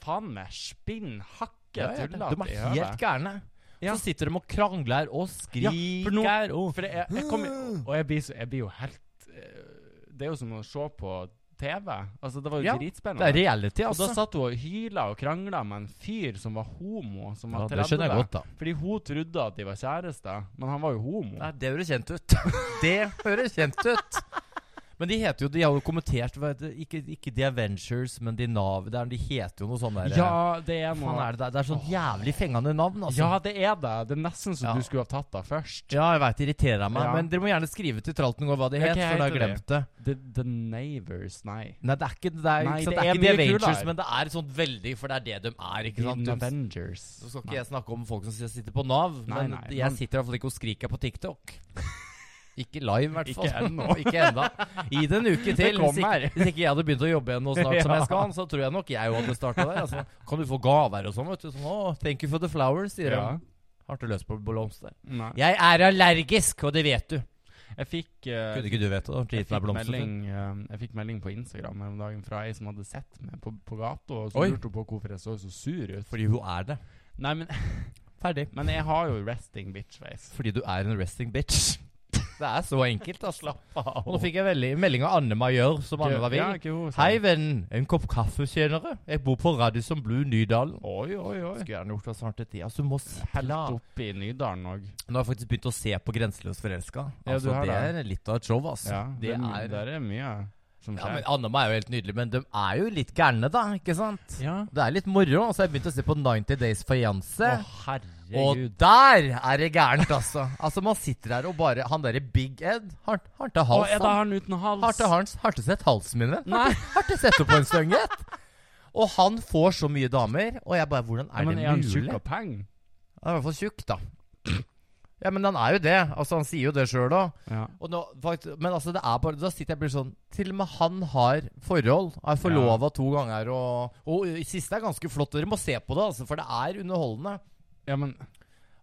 Speaker 1: faen meg spinn hakke
Speaker 2: Ja, ja, de
Speaker 1: tullete i
Speaker 2: er helt
Speaker 1: høvet.
Speaker 2: gærne.
Speaker 1: Ja.
Speaker 2: Så sitter de og krangler og
Speaker 1: for
Speaker 2: skriker
Speaker 1: nå-
Speaker 2: og
Speaker 1: For jeg, jeg kom, og jeg blir, så, jeg blir jo helt eh, Det er jo som å se på TV. Altså, det var jo
Speaker 2: Ja, Det
Speaker 1: dritspennende.
Speaker 2: er reality,
Speaker 1: og da
Speaker 2: altså.
Speaker 1: satt hun og hyla og krangla med en fyr som var homo. Som
Speaker 2: Ja,
Speaker 1: var
Speaker 2: det
Speaker 1: 30.
Speaker 2: skjønner jeg godt, da.
Speaker 1: Fordi hun trodde at de var kjærester, men han var jo homo.
Speaker 2: Nei, det høres kjent ut. Det høres kjent ut. Men de heter jo De har jo kommentert hva heter det? ikke, ikke The Avengers, men de Nav det er- De heter jo noe sånn der
Speaker 1: Ja, det er
Speaker 2: Faen
Speaker 1: noe
Speaker 2: er det der? Det er sånn jævlig fengende navn, altså.
Speaker 1: Ja, det er det. Det er nesten så
Speaker 2: Ja.
Speaker 1: du skulle ha tatt det først.
Speaker 2: Ja, jeg veit det irriterer meg,
Speaker 1: Ja.
Speaker 2: men dere må gjerne skrive til Tralten og hva det
Speaker 1: Ja,
Speaker 2: het,
Speaker 1: hva
Speaker 2: for da har jeg
Speaker 1: heter det?
Speaker 2: glemt det.
Speaker 1: The, the Neighbors, nei.
Speaker 2: Nei, det er ikke det
Speaker 1: Nei,
Speaker 2: er, ikke sant?
Speaker 1: det
Speaker 2: Det er
Speaker 1: er
Speaker 2: ikke The
Speaker 1: mye kulere.
Speaker 2: Avengers, men det er sånn veldig For det er det de er, ikke sant?
Speaker 1: The
Speaker 2: De-
Speaker 1: Avengers.
Speaker 2: Så skal ikke jeg snakke om folk som sitter på Nav,
Speaker 1: Nei,
Speaker 2: men
Speaker 1: nei,
Speaker 2: jeg
Speaker 1: men-
Speaker 2: sitter i hvert fall ikke og skriker på TikTok. Ikke live, i hvert fall.
Speaker 1: Ikke ennå.
Speaker 2: ikke enda. I det en uke til. Hvis
Speaker 1: kommer.
Speaker 2: ikke, hvis ikke jeg hadde begynt å jobbe igjen nå snart som jeg
Speaker 1: Ja.
Speaker 2: skal, så tror jeg nok jeg jo hadde starta der. Altså, kan du få gaver og sånn, vet du. Sånn, «Å, thank you for the flowers, sier
Speaker 1: Ja.
Speaker 2: de. Har du løst på blomster?
Speaker 1: Nei.
Speaker 2: Jeg er allergisk, og det vet du.
Speaker 1: Jeg fikk, eh,
Speaker 2: Kunne ikke du vite det?
Speaker 1: jeg
Speaker 2: Gitt meg
Speaker 1: fikk,
Speaker 2: blomster.
Speaker 1: melding, eh, jeg fikk melding på Instagram her om dagen fra ei som hadde sett meg på, på gata, og så
Speaker 2: Oi.
Speaker 1: lurte hun på hvorfor jeg så så sur ut.
Speaker 2: Fordi hun er det.
Speaker 1: Nei, men,
Speaker 2: Ferdig.
Speaker 1: men jeg har jo resting bitch face.
Speaker 2: Fordi du er en resting bitch. Det er så enkelt, altså.
Speaker 1: Slapp av.
Speaker 2: Og nå fikk jeg veldig- melding av Anne Majør, som Anne var vill.
Speaker 1: Ja, ikke hun, sa-
Speaker 2: Hei, vennen. En kopp kaffe senere? Jeg bor på Radisson Blue Nydalen.
Speaker 1: Oi, oi, oi.
Speaker 2: Skulle gjerne gjort det snart etter. Altså, du må si
Speaker 1: Helt oppe i Nydalen òg.
Speaker 2: Nå har jeg faktisk begynt å se på Grenseløs forelska.
Speaker 1: Ja,
Speaker 2: Altså,
Speaker 1: du har
Speaker 2: det
Speaker 1: det.
Speaker 2: er litt av et show, altså.
Speaker 1: Ja,
Speaker 2: det
Speaker 1: men
Speaker 2: er
Speaker 1: Der er mye som
Speaker 2: ja, men altså-
Speaker 1: skjer.
Speaker 2: Annema er jo helt nydelig, men de er jo litt gærne, da. Ikke sant?
Speaker 1: Ja.
Speaker 2: Det er litt moro. Og så har jeg begynt å se på 90 Days Fiancé.
Speaker 1: Å,
Speaker 2: og
Speaker 1: herregud.
Speaker 2: der er det gærent, altså. Altså, man sitter her og bare Han derre Big Ed har, har til
Speaker 1: Å,
Speaker 2: hals.
Speaker 1: er
Speaker 2: han.
Speaker 1: det han uten hals?
Speaker 2: Har til Hans, har til sett halsen min? vel?
Speaker 1: Nei.
Speaker 2: Har til- Har til sett opp på en stønget? Og han får så mye damer, og jeg bare Hvordan er
Speaker 1: Ja, men
Speaker 2: det
Speaker 1: er han
Speaker 2: mulig?
Speaker 1: tjukk av penger?
Speaker 2: Han er i hvert fall tjukk, da. Ja, men han er jo det. Altså, han sier jo det sjøl òg.
Speaker 1: Ja.
Speaker 2: Men altså, det er bare da sitter jeg og blir sånn Til og med han har forhold. Er forlova to ganger og Og i siste er ganske flott. Dere må se på det, altså, for det er underholdende.
Speaker 1: Ja, men,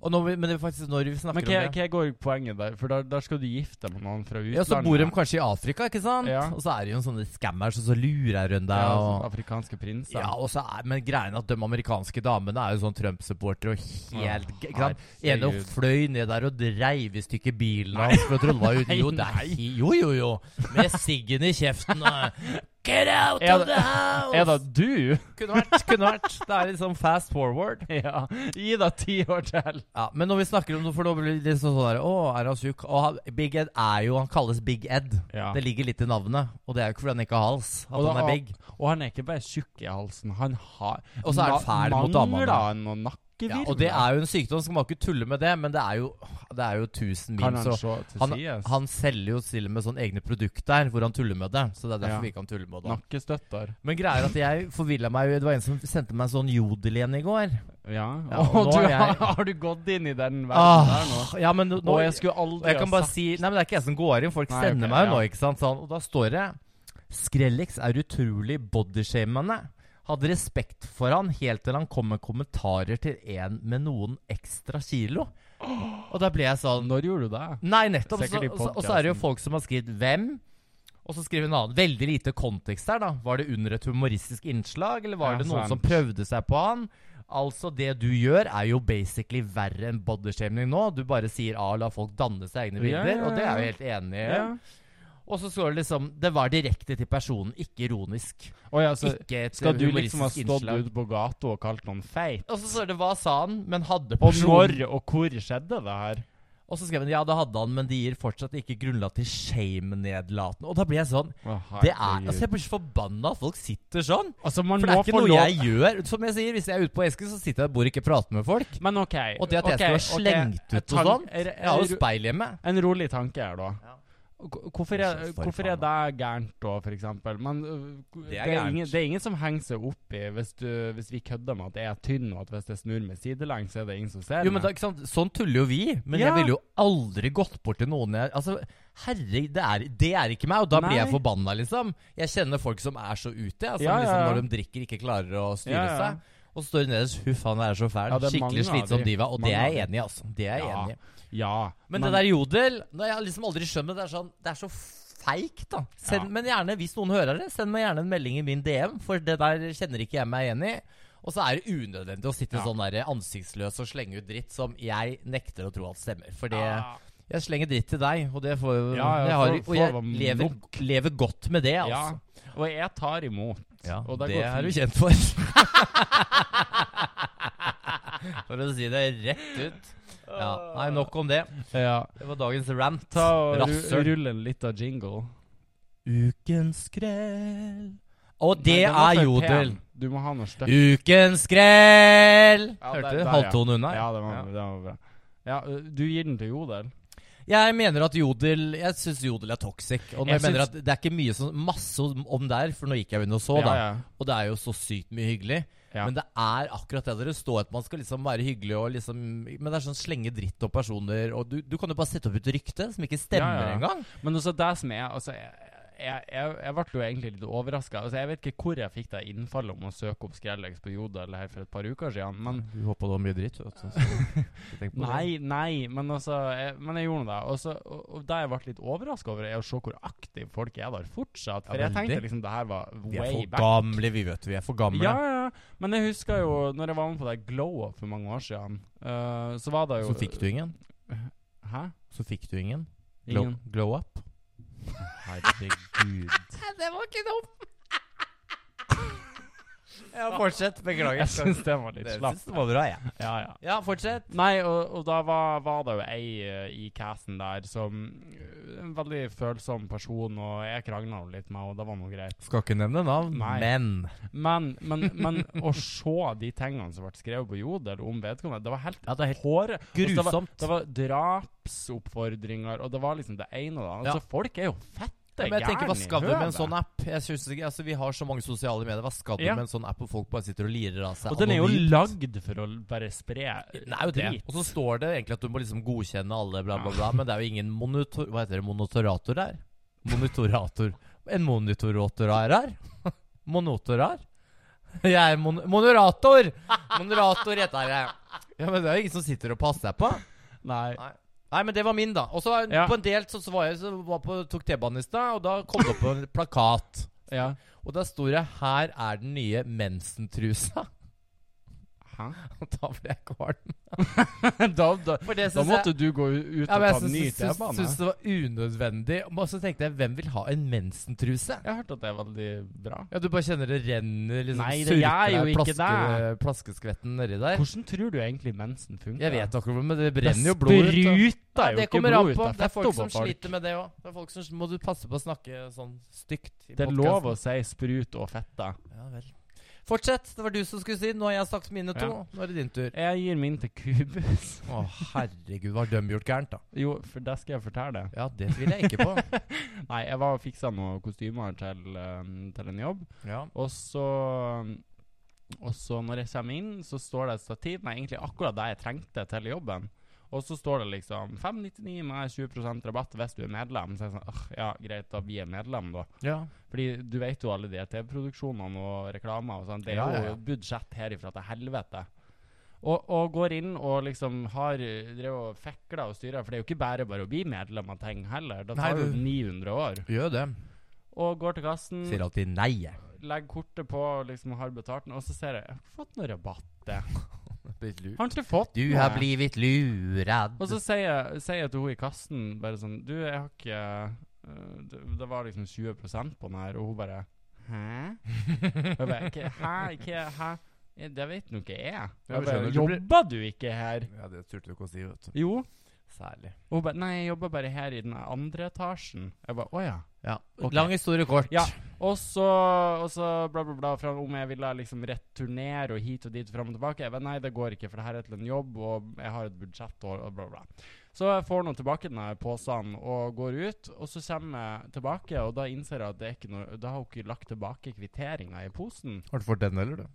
Speaker 2: Og når vi, men det er faktisk når vi snakker
Speaker 1: men hva,
Speaker 2: om det
Speaker 1: hva går poenget der? For der, der skal du gifte deg med noen fra utlandet.
Speaker 2: ja, Så bor de kanskje i Afrika, ikke sant?
Speaker 1: Ja.
Speaker 2: Og så er det jo en sånne scammers, og så lurer hun deg.
Speaker 1: Ja,
Speaker 2: og...
Speaker 1: sånn afrikanske prinser.
Speaker 2: Ja, og så er, men greien er at de amerikanske damene er jo sånn Trump-supportere og helt
Speaker 1: Åh,
Speaker 2: ikke sant? Ene
Speaker 1: herregud.
Speaker 2: fløy ned der og dreiv i stykker bilen hans for å tro det var jo- Jo, det er hi- jo, jo, jo. Med siggen i kjeften og Get out
Speaker 1: Er
Speaker 2: of the house!
Speaker 1: er det du?
Speaker 2: Kunne vært, kunne vært. Det er litt sånn fast forward.
Speaker 1: ja. Gi deg ti år til.
Speaker 2: Ja, Men når vi snakker om det, for da blir det litt sånn sånn der Å, er han tjukk? Og han, Big Ed er jo Han kalles Big Ed.
Speaker 1: Ja.
Speaker 2: Det ligger litt i navnet. Og det er jo ikke fordi han ikke har hals. At
Speaker 1: Og da-
Speaker 2: han er big.
Speaker 1: Og han er ikke bare tjukk i halsen, han har
Speaker 2: Og så er han
Speaker 1: Ma-
Speaker 2: fæl mot damene.
Speaker 1: Mangler han noen
Speaker 2: Ja,
Speaker 1: nakkevirvler?
Speaker 2: og det er jo en sykdom, skal man ikke tulle med det, men det er jo, det er jo tusen
Speaker 1: Kan
Speaker 2: memes.
Speaker 1: han
Speaker 2: Og
Speaker 1: se til
Speaker 2: han,
Speaker 1: sides?
Speaker 2: han selger jo til og med sånne egne produkter hvor han tuller med det. Så det er derfor
Speaker 1: Ja.
Speaker 2: vi kan tulle med det.
Speaker 1: Nakkestøtter.
Speaker 2: Men greia er at jeg forvilla meg jo- Det var en som sendte meg en sånn jodel igjen i går.
Speaker 1: Ja.
Speaker 2: Ja,
Speaker 1: og
Speaker 2: og nå
Speaker 1: du,
Speaker 2: er jeg-
Speaker 1: Har du gått inn i den verden der nå?
Speaker 2: Ah, ja, men nå,
Speaker 1: Og jeg
Speaker 2: jeg,
Speaker 1: skulle aldri
Speaker 2: kan bare si Nei, men det er ikke jeg som går inn. Folk
Speaker 1: Nei,
Speaker 2: sender
Speaker 1: ok,
Speaker 2: meg jo
Speaker 1: ja.
Speaker 2: nå, ikke sant. Sånn, og da står det Skrellix er utrolig bodyshamende. Hadde respekt for han helt til han kom med kommentarer til en med noen ekstra kilo. Og da ble jeg sånn
Speaker 1: Når gjorde du det?
Speaker 2: Nei, nettopp. Så,
Speaker 1: Sikkert i
Speaker 2: og så- og så er det jo
Speaker 1: podcasten.
Speaker 2: folk som har skrevet 'Hvem?' Og så skriver en annen. Veldig lite kontekst her, da. Var det under et humoristisk innslag, eller var
Speaker 1: Ja,
Speaker 2: det noen
Speaker 1: sant.
Speaker 2: som prøvde seg på han? Altså, det du gjør, er jo basically verre enn bodyshaming nå. Du bare sier A, la folk danne seg egne
Speaker 1: Ja,
Speaker 2: bilder,
Speaker 1: ja,
Speaker 2: og det er
Speaker 1: ja.
Speaker 2: jeg jo helt enig i. Og så står det liksom Det var direkte til personen, ikke ironisk.
Speaker 1: Å ja, så
Speaker 2: ikke et
Speaker 1: skal du
Speaker 2: humoristisk
Speaker 1: liksom ha stått
Speaker 2: innslag.
Speaker 1: ute på gata og kalt noen feit?
Speaker 2: Og så står det 'Hva sa han?' Men hadde
Speaker 1: Og
Speaker 2: personen
Speaker 1: når og hvor skjedde det her?
Speaker 2: Og så skrev han 'Ja, det hadde han, men det gir fortsatt ikke grunnlag til shame-nedlatende'. Og da blir jeg sånn Det er, altså Jeg blir så forbanna at folk sitter sånn.
Speaker 1: altså, man
Speaker 2: For det
Speaker 1: må
Speaker 2: er ikke
Speaker 1: få
Speaker 2: noe
Speaker 1: lov-
Speaker 2: jeg gjør. Som jeg sier, Hvis jeg er ute på Esken, så sitter jeg og bor og ikke prater med folk.
Speaker 1: Men OK.
Speaker 2: Og det at jeg
Speaker 1: ok,
Speaker 2: skulle ha
Speaker 1: ok,
Speaker 2: slengt ut og
Speaker 1: tank-
Speaker 2: sånn
Speaker 1: er- er-
Speaker 2: Jeg har jo
Speaker 1: er-
Speaker 2: speil hjemme.
Speaker 1: En rolig tanke her, da.
Speaker 2: Ja.
Speaker 1: Hvor- Hvorfor er,
Speaker 2: Så for
Speaker 1: hvorfor er
Speaker 2: faen,
Speaker 1: det gærent, da, for eksempel? Men øh,
Speaker 2: Det er gærent.
Speaker 1: ingen, det er ingen som henger seg opp i hvis, du, hvis vi kødder med at jeg er tynn, og at hvis jeg snur meg sidelengs, så er det ingen som ser
Speaker 2: Jo, men da,
Speaker 1: meg.
Speaker 2: ikke sant? Sånn tuller jo vi. Men
Speaker 1: Ja.
Speaker 2: jeg ville jo aldri gått bort til noen jeg Altså, herre, det er, det er ikke meg. Og da blir jeg
Speaker 1: Nei.
Speaker 2: forbanna, liksom. Jeg kjenner folk som er så ute, jeg, som
Speaker 1: Ja, ja,
Speaker 2: liksom
Speaker 1: ja.
Speaker 2: når de drikker, ikke klarer å styre
Speaker 1: Ja, ja.
Speaker 2: seg. Og så står det nederst 'huff, han er så fæl'.
Speaker 1: Ja, det er mange
Speaker 2: Skikkelig
Speaker 1: av de.
Speaker 2: slitsom diva. Og
Speaker 1: Mange
Speaker 2: det er
Speaker 1: av de.
Speaker 2: jeg enig i, altså. Det er jeg
Speaker 1: Ja,
Speaker 2: enig i.
Speaker 1: Ja.
Speaker 2: Men, det der Jodel Nå, Jeg har liksom aldri skjønt det. Det er, sånn, det er så feigt, da. Send,
Speaker 1: Ja.
Speaker 2: Men gjerne, hvis noen hører det, send meg gjerne en melding i min DM, for det der kjenner ikke jeg meg igjen i. Og så er det unødvendig å sitte
Speaker 1: Ja.
Speaker 2: sånn der ansiktsløs og slenge ut dritt som jeg nekter å tro at stemmer. For det
Speaker 1: Ja.
Speaker 2: Jeg slenger dritt til deg, og det får jo
Speaker 1: Ja, ja,
Speaker 2: jeg har,
Speaker 1: får- får
Speaker 2: Og
Speaker 1: være
Speaker 2: jeg lever, lever godt med det,
Speaker 1: ja.
Speaker 2: altså.
Speaker 1: Og jeg tar imot.
Speaker 2: Ja,
Speaker 1: Og det
Speaker 2: det
Speaker 1: går
Speaker 2: er du
Speaker 1: fint.
Speaker 2: kjent for. for å si det rett ut. Ja, Nei, nok om det.
Speaker 1: Ja.
Speaker 2: Det var dagens rant.
Speaker 1: Ta og ru
Speaker 2: Rasshøl.
Speaker 1: rulle en litt av jingle.
Speaker 2: Ukens skrell. Og
Speaker 1: Nei,
Speaker 2: det
Speaker 1: den var
Speaker 2: er
Speaker 1: for
Speaker 2: Jodel.
Speaker 1: pen. Du må ha noe støtt.
Speaker 2: Ukens skrell!
Speaker 1: Ja,
Speaker 2: Hørte
Speaker 1: der- der,
Speaker 2: du?
Speaker 1: ja.
Speaker 2: Halvtone unna.
Speaker 1: Ja, det var, det var bra. Ja, ø, du gir den til Jodel?
Speaker 2: Jeg mener at Jodel Jeg syns Jodel er toxic. Og når
Speaker 1: Jeg
Speaker 2: jeg, mener
Speaker 1: syns-
Speaker 2: at det er ikke mye sånn masse om- om der, for nå gikk jeg inn og så,
Speaker 1: ja,
Speaker 2: da.
Speaker 1: ja.
Speaker 2: Og det er jo så sykt mye hyggelig.
Speaker 1: Ja.
Speaker 2: Men det er akkurat det dere står at man skal liksom være hyggelig og liksom Men det er sånn slenge dritt opp personer, og du, du kan jo bare sette opp et rykte som ikke stemmer
Speaker 1: Ja, ja.
Speaker 2: engang.
Speaker 1: Men også det som er altså, jeg, jeg, jeg, jeg ble jo egentlig litt overraska. Altså, jeg vet ikke hvor jeg fikk det innfallet om å søke opp Skrellex på Jodel her for et par uker siden. Men
Speaker 2: Du håpa det var mye dritt? Vet
Speaker 1: nei, nei. Men, altså, jeg, men jeg gjorde nå det. Og, så, og, og det jeg ble litt overraska over, er å se hvor aktive folk er der fortsatt. For
Speaker 2: Ja,
Speaker 1: jeg
Speaker 2: veldig.
Speaker 1: tenkte liksom det her var
Speaker 2: Vi er
Speaker 1: way
Speaker 2: for
Speaker 1: back.
Speaker 2: gamle, vi, vet du. Vi er for gamle.
Speaker 1: Ja, ja, ja. Men jeg husker jo når jeg var med på det glow-up for mange år siden, eh, så var det jo
Speaker 2: Så fikk du ingen.
Speaker 1: Hæ?
Speaker 2: Så fikk du ingen. Glow,
Speaker 1: Ingen.
Speaker 2: glow up. Herregud.
Speaker 3: Det var ikke dumt.
Speaker 2: Ja, fortsett. Beklager.
Speaker 1: Jeg syns det var litt
Speaker 2: det
Speaker 1: slapp.
Speaker 2: synes det var bra, jeg.
Speaker 1: Ja, ja.
Speaker 2: Ja, fortsett.
Speaker 1: Nei, og, og da var, var det jo ei eh, i casten der som eh, En veldig følsom person, og jeg krangla jo litt med henne, og det var noe greit.
Speaker 2: Skal ikke nevne navn,
Speaker 1: Nei.
Speaker 2: men
Speaker 1: Men, men, men å se de tingene som ble skrevet på Jodel om vedkommende, det var helt
Speaker 2: Ja, det er helt
Speaker 1: håre. Altså, det var,
Speaker 2: grusomt.
Speaker 1: det var drapsoppfordringer, og det var liksom det ene og det andre.
Speaker 2: Ja.
Speaker 1: Altså, folk er jo fette
Speaker 2: Men jeg tenker, Hva
Speaker 1: gærne i
Speaker 2: skal du med en
Speaker 1: høvet.
Speaker 2: sånn app? Jeg synes ikke, altså Vi har så mange sosiale medier. Hva skal du
Speaker 1: Ja.
Speaker 2: med en sånn app hvor folk bare sitter og lirer av seg?
Speaker 1: Og den er jo
Speaker 2: anonymt?
Speaker 1: lagd for å l- bare spre eh,
Speaker 2: Den er jo det.
Speaker 1: drit.
Speaker 2: Og så står det egentlig at du må liksom godkjenne alle, bla, bla, bla. Men det er jo ingen monitor... Hva heter det? Monitorator der? Monitorator. En monitorator her? Monotorar? Jeg er mon monitorator! Monitorator heter jeg. Ja, men det er jo ingen som sitter og passer på.
Speaker 1: Nei.
Speaker 2: Nei, men det var min, da. Og så
Speaker 1: Ja.
Speaker 2: på en del så, så var jeg så var på, tok T-banen i stad, og da kom det opp en plakat.
Speaker 1: Ja.
Speaker 2: Og der sto det 'Her er den nye mensentrusa'.
Speaker 1: Hæ?
Speaker 2: Og da ble jeg kvalm.
Speaker 1: da, da,
Speaker 2: For det
Speaker 1: da
Speaker 2: synes jeg-
Speaker 1: måtte du gå u- ut og
Speaker 2: Ja,
Speaker 1: ta
Speaker 2: men
Speaker 1: en ny
Speaker 2: jeg syns- syns-
Speaker 1: T-bane.
Speaker 2: syns det var unødvendig. Og så tenkte jeg, hvem vil ha en mensentruse?
Speaker 1: Jeg har hørt at det er veldig bra.
Speaker 2: Ja, Du bare kjenner det renner liksom
Speaker 1: Nei, det
Speaker 2: surkler
Speaker 1: gjør jo
Speaker 2: deg,
Speaker 1: ikke
Speaker 2: Plaskeskvetten nedi der.
Speaker 1: Hvordan tror du egentlig mensen funker?
Speaker 2: Jeg vet akkurat, men det
Speaker 1: Det
Speaker 2: brenner jo blod ut. da.
Speaker 1: spruter
Speaker 2: Ja,
Speaker 1: jo
Speaker 2: det
Speaker 1: ikke
Speaker 2: kommer
Speaker 1: blod
Speaker 2: an
Speaker 1: ut.
Speaker 2: på.
Speaker 1: av
Speaker 2: Det er folk som
Speaker 1: fettet på folk.
Speaker 2: sliter med det òg. Det er folk som må du passe på å snakke sånn stygt. i
Speaker 1: Det er
Speaker 2: podcasten.
Speaker 1: lov å si sprut og fette.
Speaker 2: Ja vel. Fortsett. Det var du som skulle si. Nå har jeg sagt mine to.
Speaker 1: Ja.
Speaker 2: Nå er det din tur.
Speaker 1: Jeg gir min til kubus.
Speaker 2: Å, herregud. Hva har de gjort gærent, da?
Speaker 1: Jo, for det skal jeg fortelle deg.
Speaker 2: Ja, det tviler jeg ikke på.
Speaker 1: Nei, jeg var og fiksa noen kostymer til, eh, til en jobb,
Speaker 2: Ja.
Speaker 1: og så Og så når jeg kommer inn, så står det et stativ med egentlig akkurat det jeg trengte til jobben. Og så står det liksom 599 med 20 rabatt hvis du er medlem. Så jeg sånn, «Åh, ja greit, da blir jeg medlem, da.
Speaker 2: ja.
Speaker 1: Fordi du vet jo alle de TV-produksjonene og reklamer og sånn. Det er
Speaker 2: Ja, ja, ja.
Speaker 1: jo budsjett herifra til helvete. Og, og går inn og liksom har eh, drevet og fekla og styra, for det er jo ikke bare bare å bli medlem av ting heller. Det
Speaker 2: Nei,
Speaker 1: tar jo
Speaker 2: du-
Speaker 1: 900 år.
Speaker 2: Gjør det.
Speaker 1: Og går til kassen,
Speaker 2: Sier alltid nei, jeg.
Speaker 1: legger kortet på, liksom har betalt den, og så ser jeg Jeg har ikke fått noe rabatt.
Speaker 2: Du
Speaker 1: Har ikke fått
Speaker 2: har
Speaker 1: noe.
Speaker 2: blivit lurad.
Speaker 1: Og så sier jeg, sier jeg til hun i kassen bare sånn Du, jeg har ikke eh, det, det var liksom 20 på den her, og hun bare Hæ? Og jeg bare, «Hva- Hæ? Hva? Hæ? Ja, Det vet nå ikke jeg.
Speaker 2: Ja,
Speaker 1: jeg
Speaker 2: men
Speaker 1: bare,
Speaker 2: skjønner, du blir-
Speaker 1: jobber du ikke her?
Speaker 2: Ja, det turte du ikke å si, vet du.
Speaker 1: Jo.
Speaker 2: Særlig.
Speaker 1: Og hun bare Nei, jeg jobber bare her i den andre etasjen. Jeg bare Å ja.
Speaker 2: Ja.
Speaker 1: Ok.
Speaker 2: Lang historie kort.
Speaker 1: Ja. Og så, og så bla, bla, bla. Fra om jeg ville liksom returnere og hit og dit, fram og tilbake. Jeg bare, nei, det går ikke, for det her er til en jobb, og jeg har et budsjett og og bla, bla. Så jeg får nå tilbake denne posen og går ut. Og så kommer jeg tilbake, og da innser jeg at det er ikke noe Da har hun ikke lagt tilbake kvitteringa i posen.
Speaker 2: Har du fått den, eller? du?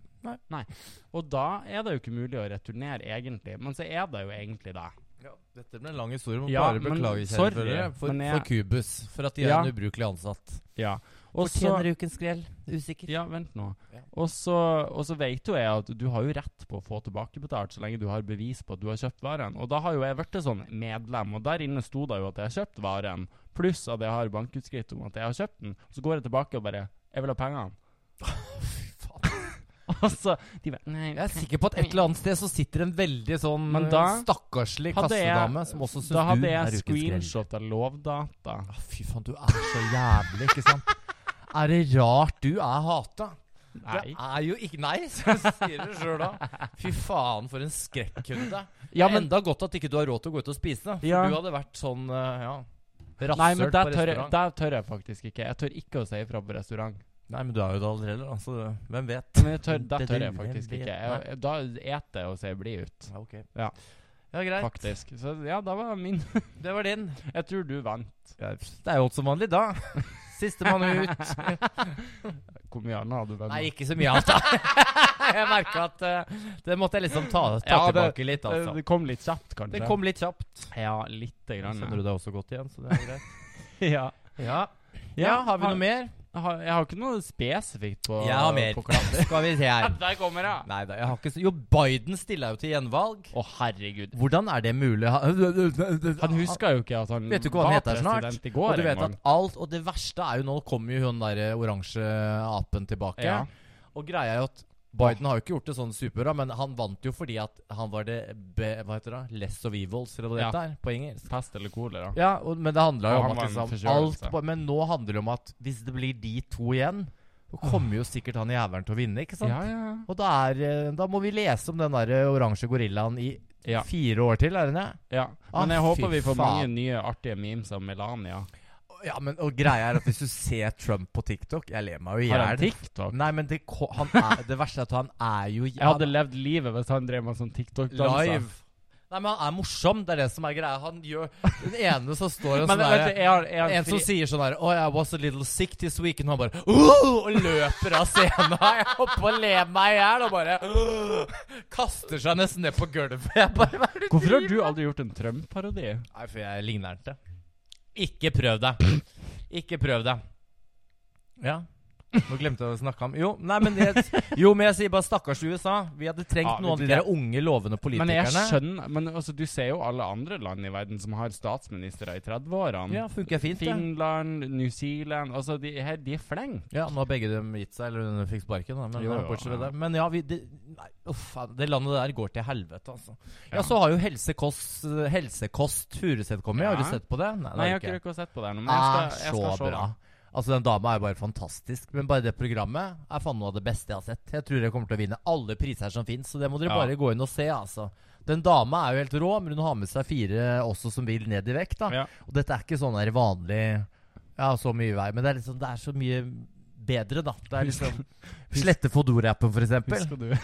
Speaker 1: Og da er det jo ikke mulig å returnere, egentlig. Men så er det jo egentlig det.
Speaker 2: Ja. Dette ble en lang historie. Må
Speaker 1: Ja,
Speaker 2: bare
Speaker 1: men
Speaker 2: beklage, kjære
Speaker 1: sorry,
Speaker 2: følgere, for,
Speaker 1: men jeg-
Speaker 2: for Kubus. For at de er
Speaker 1: Ja.
Speaker 2: en ubrukelig ansatt.
Speaker 1: Ja. Og så
Speaker 2: Fortjener ukens grell. Usikker.
Speaker 1: Ja, vent nå.
Speaker 2: Ja.
Speaker 1: Og så, og så vet jo jeg at du har jo rett på å få tilbakebetalt så lenge du har bevis på at du har kjøpt varen. Og da har jo jeg blitt sånn medlem, og der inne sto det jo at jeg har kjøpt varen, pluss at jeg har bankutskrift om at jeg har kjøpt den. Så går jeg tilbake og bare Jeg vil ha pengene.
Speaker 2: Fy faen.
Speaker 1: Og så de bare Nei,
Speaker 2: Jeg er sikker på at et eller annet sted så sitter en veldig sånn
Speaker 1: Men da
Speaker 2: eh, stakkarslig
Speaker 1: hadde jeg-
Speaker 2: kassedame som også syns du
Speaker 1: da hadde
Speaker 2: er
Speaker 1: jeg
Speaker 2: ukens grell.
Speaker 1: screenshot av lovdata.
Speaker 2: Ah, Fy faen, du er så jævlig, ikke sant? Er det rart du er hata?
Speaker 1: Nei.
Speaker 2: Det er jo ikke Nei, så sier du sjøl da. Fy faen, for en skrekkhunde.
Speaker 1: Ja, men
Speaker 2: Enda godt at ikke du har råd til å gå ut og spise. For
Speaker 1: Ja.
Speaker 2: du hadde vært sånn, eh, ja
Speaker 1: Nei, men
Speaker 2: Rasshøl på
Speaker 1: der tør, jeg,
Speaker 2: restaurant.
Speaker 1: der tør jeg faktisk ikke. Jeg tør ikke å si ifra på restaurant.
Speaker 2: Nei, men du er jo det allerede, da, så hvem vet?
Speaker 1: Men jeg tør, der
Speaker 2: Det-
Speaker 1: tør
Speaker 2: det-
Speaker 1: jeg faktisk
Speaker 2: det-
Speaker 1: ikke. Jeg, da eter jeg og sier bli ut,
Speaker 2: Ja, ok.
Speaker 1: Ja.
Speaker 2: ja, greit.
Speaker 1: faktisk. Så ja, da var min
Speaker 2: Det var din.
Speaker 1: Jeg tror du vant.
Speaker 2: Ja, Det er jo som vanlig, da. Sistemann ut.
Speaker 1: Hvor mye annet hadde du vunnet?
Speaker 2: Nei, ikke så mye annet, da. Jeg merka at eh, det måtte jeg liksom ta, ta
Speaker 1: Ja, det-
Speaker 2: tilbake litt,
Speaker 1: Eh,
Speaker 2: altså.
Speaker 1: Det kom litt kjapt, kanskje?
Speaker 2: Det kom litt kjapt.
Speaker 1: Ja, lite grann.
Speaker 2: Skjønner du deg også godt igjen, så det er greit.
Speaker 1: ja.
Speaker 2: Ja, ja har vi noe mer?
Speaker 1: Har, jeg har ikke noe spesifikt på
Speaker 2: Jeg har mer.
Speaker 1: på klasse.
Speaker 2: Skal vi se her.
Speaker 1: Der kommer jeg!
Speaker 2: Nei da, jeg har ikke så Jo, Biden stilla jo til gjenvalg.
Speaker 1: Å, herregud.
Speaker 2: Hvordan er det mulig? Han
Speaker 1: Han huska jo ikke at han
Speaker 2: Vet du ikke hva han
Speaker 1: var
Speaker 2: heter snart?
Speaker 1: president I går,
Speaker 2: Og du vet
Speaker 1: engang.
Speaker 2: at alt Og det verste er jo nå kommer jo hun derre oransje apen tilbake.
Speaker 1: Ja.
Speaker 2: Og greia er jo at Biden har jo ikke gjort det sånn superbra, men han vant jo fordi at han var det be, Hva heter det? Less of evils, eller hva det
Speaker 1: Ja.
Speaker 2: heter på engelsk.
Speaker 1: Pest eller kolera.
Speaker 2: Ja, og, men det handla jo
Speaker 1: Og
Speaker 2: om
Speaker 1: han
Speaker 2: at
Speaker 1: var en
Speaker 2: liksom, alt
Speaker 1: forkjølelse.
Speaker 2: ba- Men nå handler det om at hvis det blir de to igjen, så kommer jo sikkert han jævelen til å vinne, ikke sant?
Speaker 1: Ja, ja, ja.
Speaker 2: Og da, er, eh, da må vi lese om den der eh, oransje gorillaen i
Speaker 1: Ja.
Speaker 2: fire år til, er det det?
Speaker 1: ja. Men
Speaker 2: Ah,
Speaker 1: jeg
Speaker 2: fy
Speaker 1: håper vi får mange
Speaker 2: faen.
Speaker 1: nye artige memes av Melania.
Speaker 2: Ja, men og greia er at hvis du ser Trump på TikTok Jeg ler meg jo i
Speaker 1: Har han
Speaker 2: hjel.
Speaker 1: TikTok?
Speaker 2: Nei, men det, ko- han er, det verste er at han er jo
Speaker 1: Jeg hadde levd livet hvis han drev med sånn TikTok-danser.
Speaker 2: live. Nei, men han er morsom. Det er det som er greia. Han gjør Den ene så står en
Speaker 1: Men
Speaker 2: sånn
Speaker 1: vet du,
Speaker 2: derre
Speaker 1: jeg har, jeg har
Speaker 2: en som
Speaker 1: fri-
Speaker 2: sier sånn her Oh, I was a little sick this week Og han bare oh! Og løper av scenen Jeg holdt på å le meg i hjel Og bare «Åh!» Kaster seg nesten ned på gulvet Jeg bare Hva er det du
Speaker 1: Hvorfor har
Speaker 2: driver
Speaker 1: du aldri gjort en Trump-parodi?
Speaker 2: Nei, for jeg ligner den til. Ikke prøv deg. Ikke prøv deg. Ja. Nå glemte jeg å snakke om Jo, nei, men jeg, jo, men jeg sier bare stakkars USA. Vi hadde trengt
Speaker 1: Ja,
Speaker 2: noen av
Speaker 1: vet du
Speaker 2: de der unge, lovende
Speaker 1: Men jeg
Speaker 2: politikerne.
Speaker 1: skjønner Men altså, du ser jo alle andre land i verden som har statsministre i 30-årene.
Speaker 2: Ja, funker fint, det.
Speaker 1: Finland, New Zealand Altså, de, her, de er flinke.
Speaker 2: Ja, nå har begge dem gitt seg, eller hun fikk sparken. Da, men,
Speaker 1: Jo, jo,
Speaker 2: bortsett fra
Speaker 1: ja.
Speaker 2: det. men ja, vi, det, nei, uff, faen, det landet der går til helvete, altså. Ja,
Speaker 1: Ja.
Speaker 2: så har jo Helsekost, helsekost Furuset kommet. Har
Speaker 1: Ja.
Speaker 2: du sett på det? Nei, det
Speaker 1: Nei, jeg
Speaker 2: ikke.
Speaker 1: har ikke Ah, rukket å sett på det ennå, men jeg
Speaker 2: er
Speaker 1: skal, jeg
Speaker 2: Ah, så
Speaker 1: skal se.
Speaker 2: bra. Altså, Den dama er jo bare fantastisk, men bare det programmet er faen noe av det beste jeg har sett. Jeg tror jeg kommer til å vinne alle priser som fins, så det må dere
Speaker 1: Ja.
Speaker 2: bare gå inn og se. altså. Den dama er jo helt rå, men hun har med seg fire også som vil ned i vekt. da.
Speaker 1: Ja.
Speaker 2: Og dette er ikke sånn der vanlig Ja, så mye vei, men det er liksom, det er så mye bedre, da. Det er liksom Slette Fodor-appen, for eksempel.
Speaker 1: Husker du,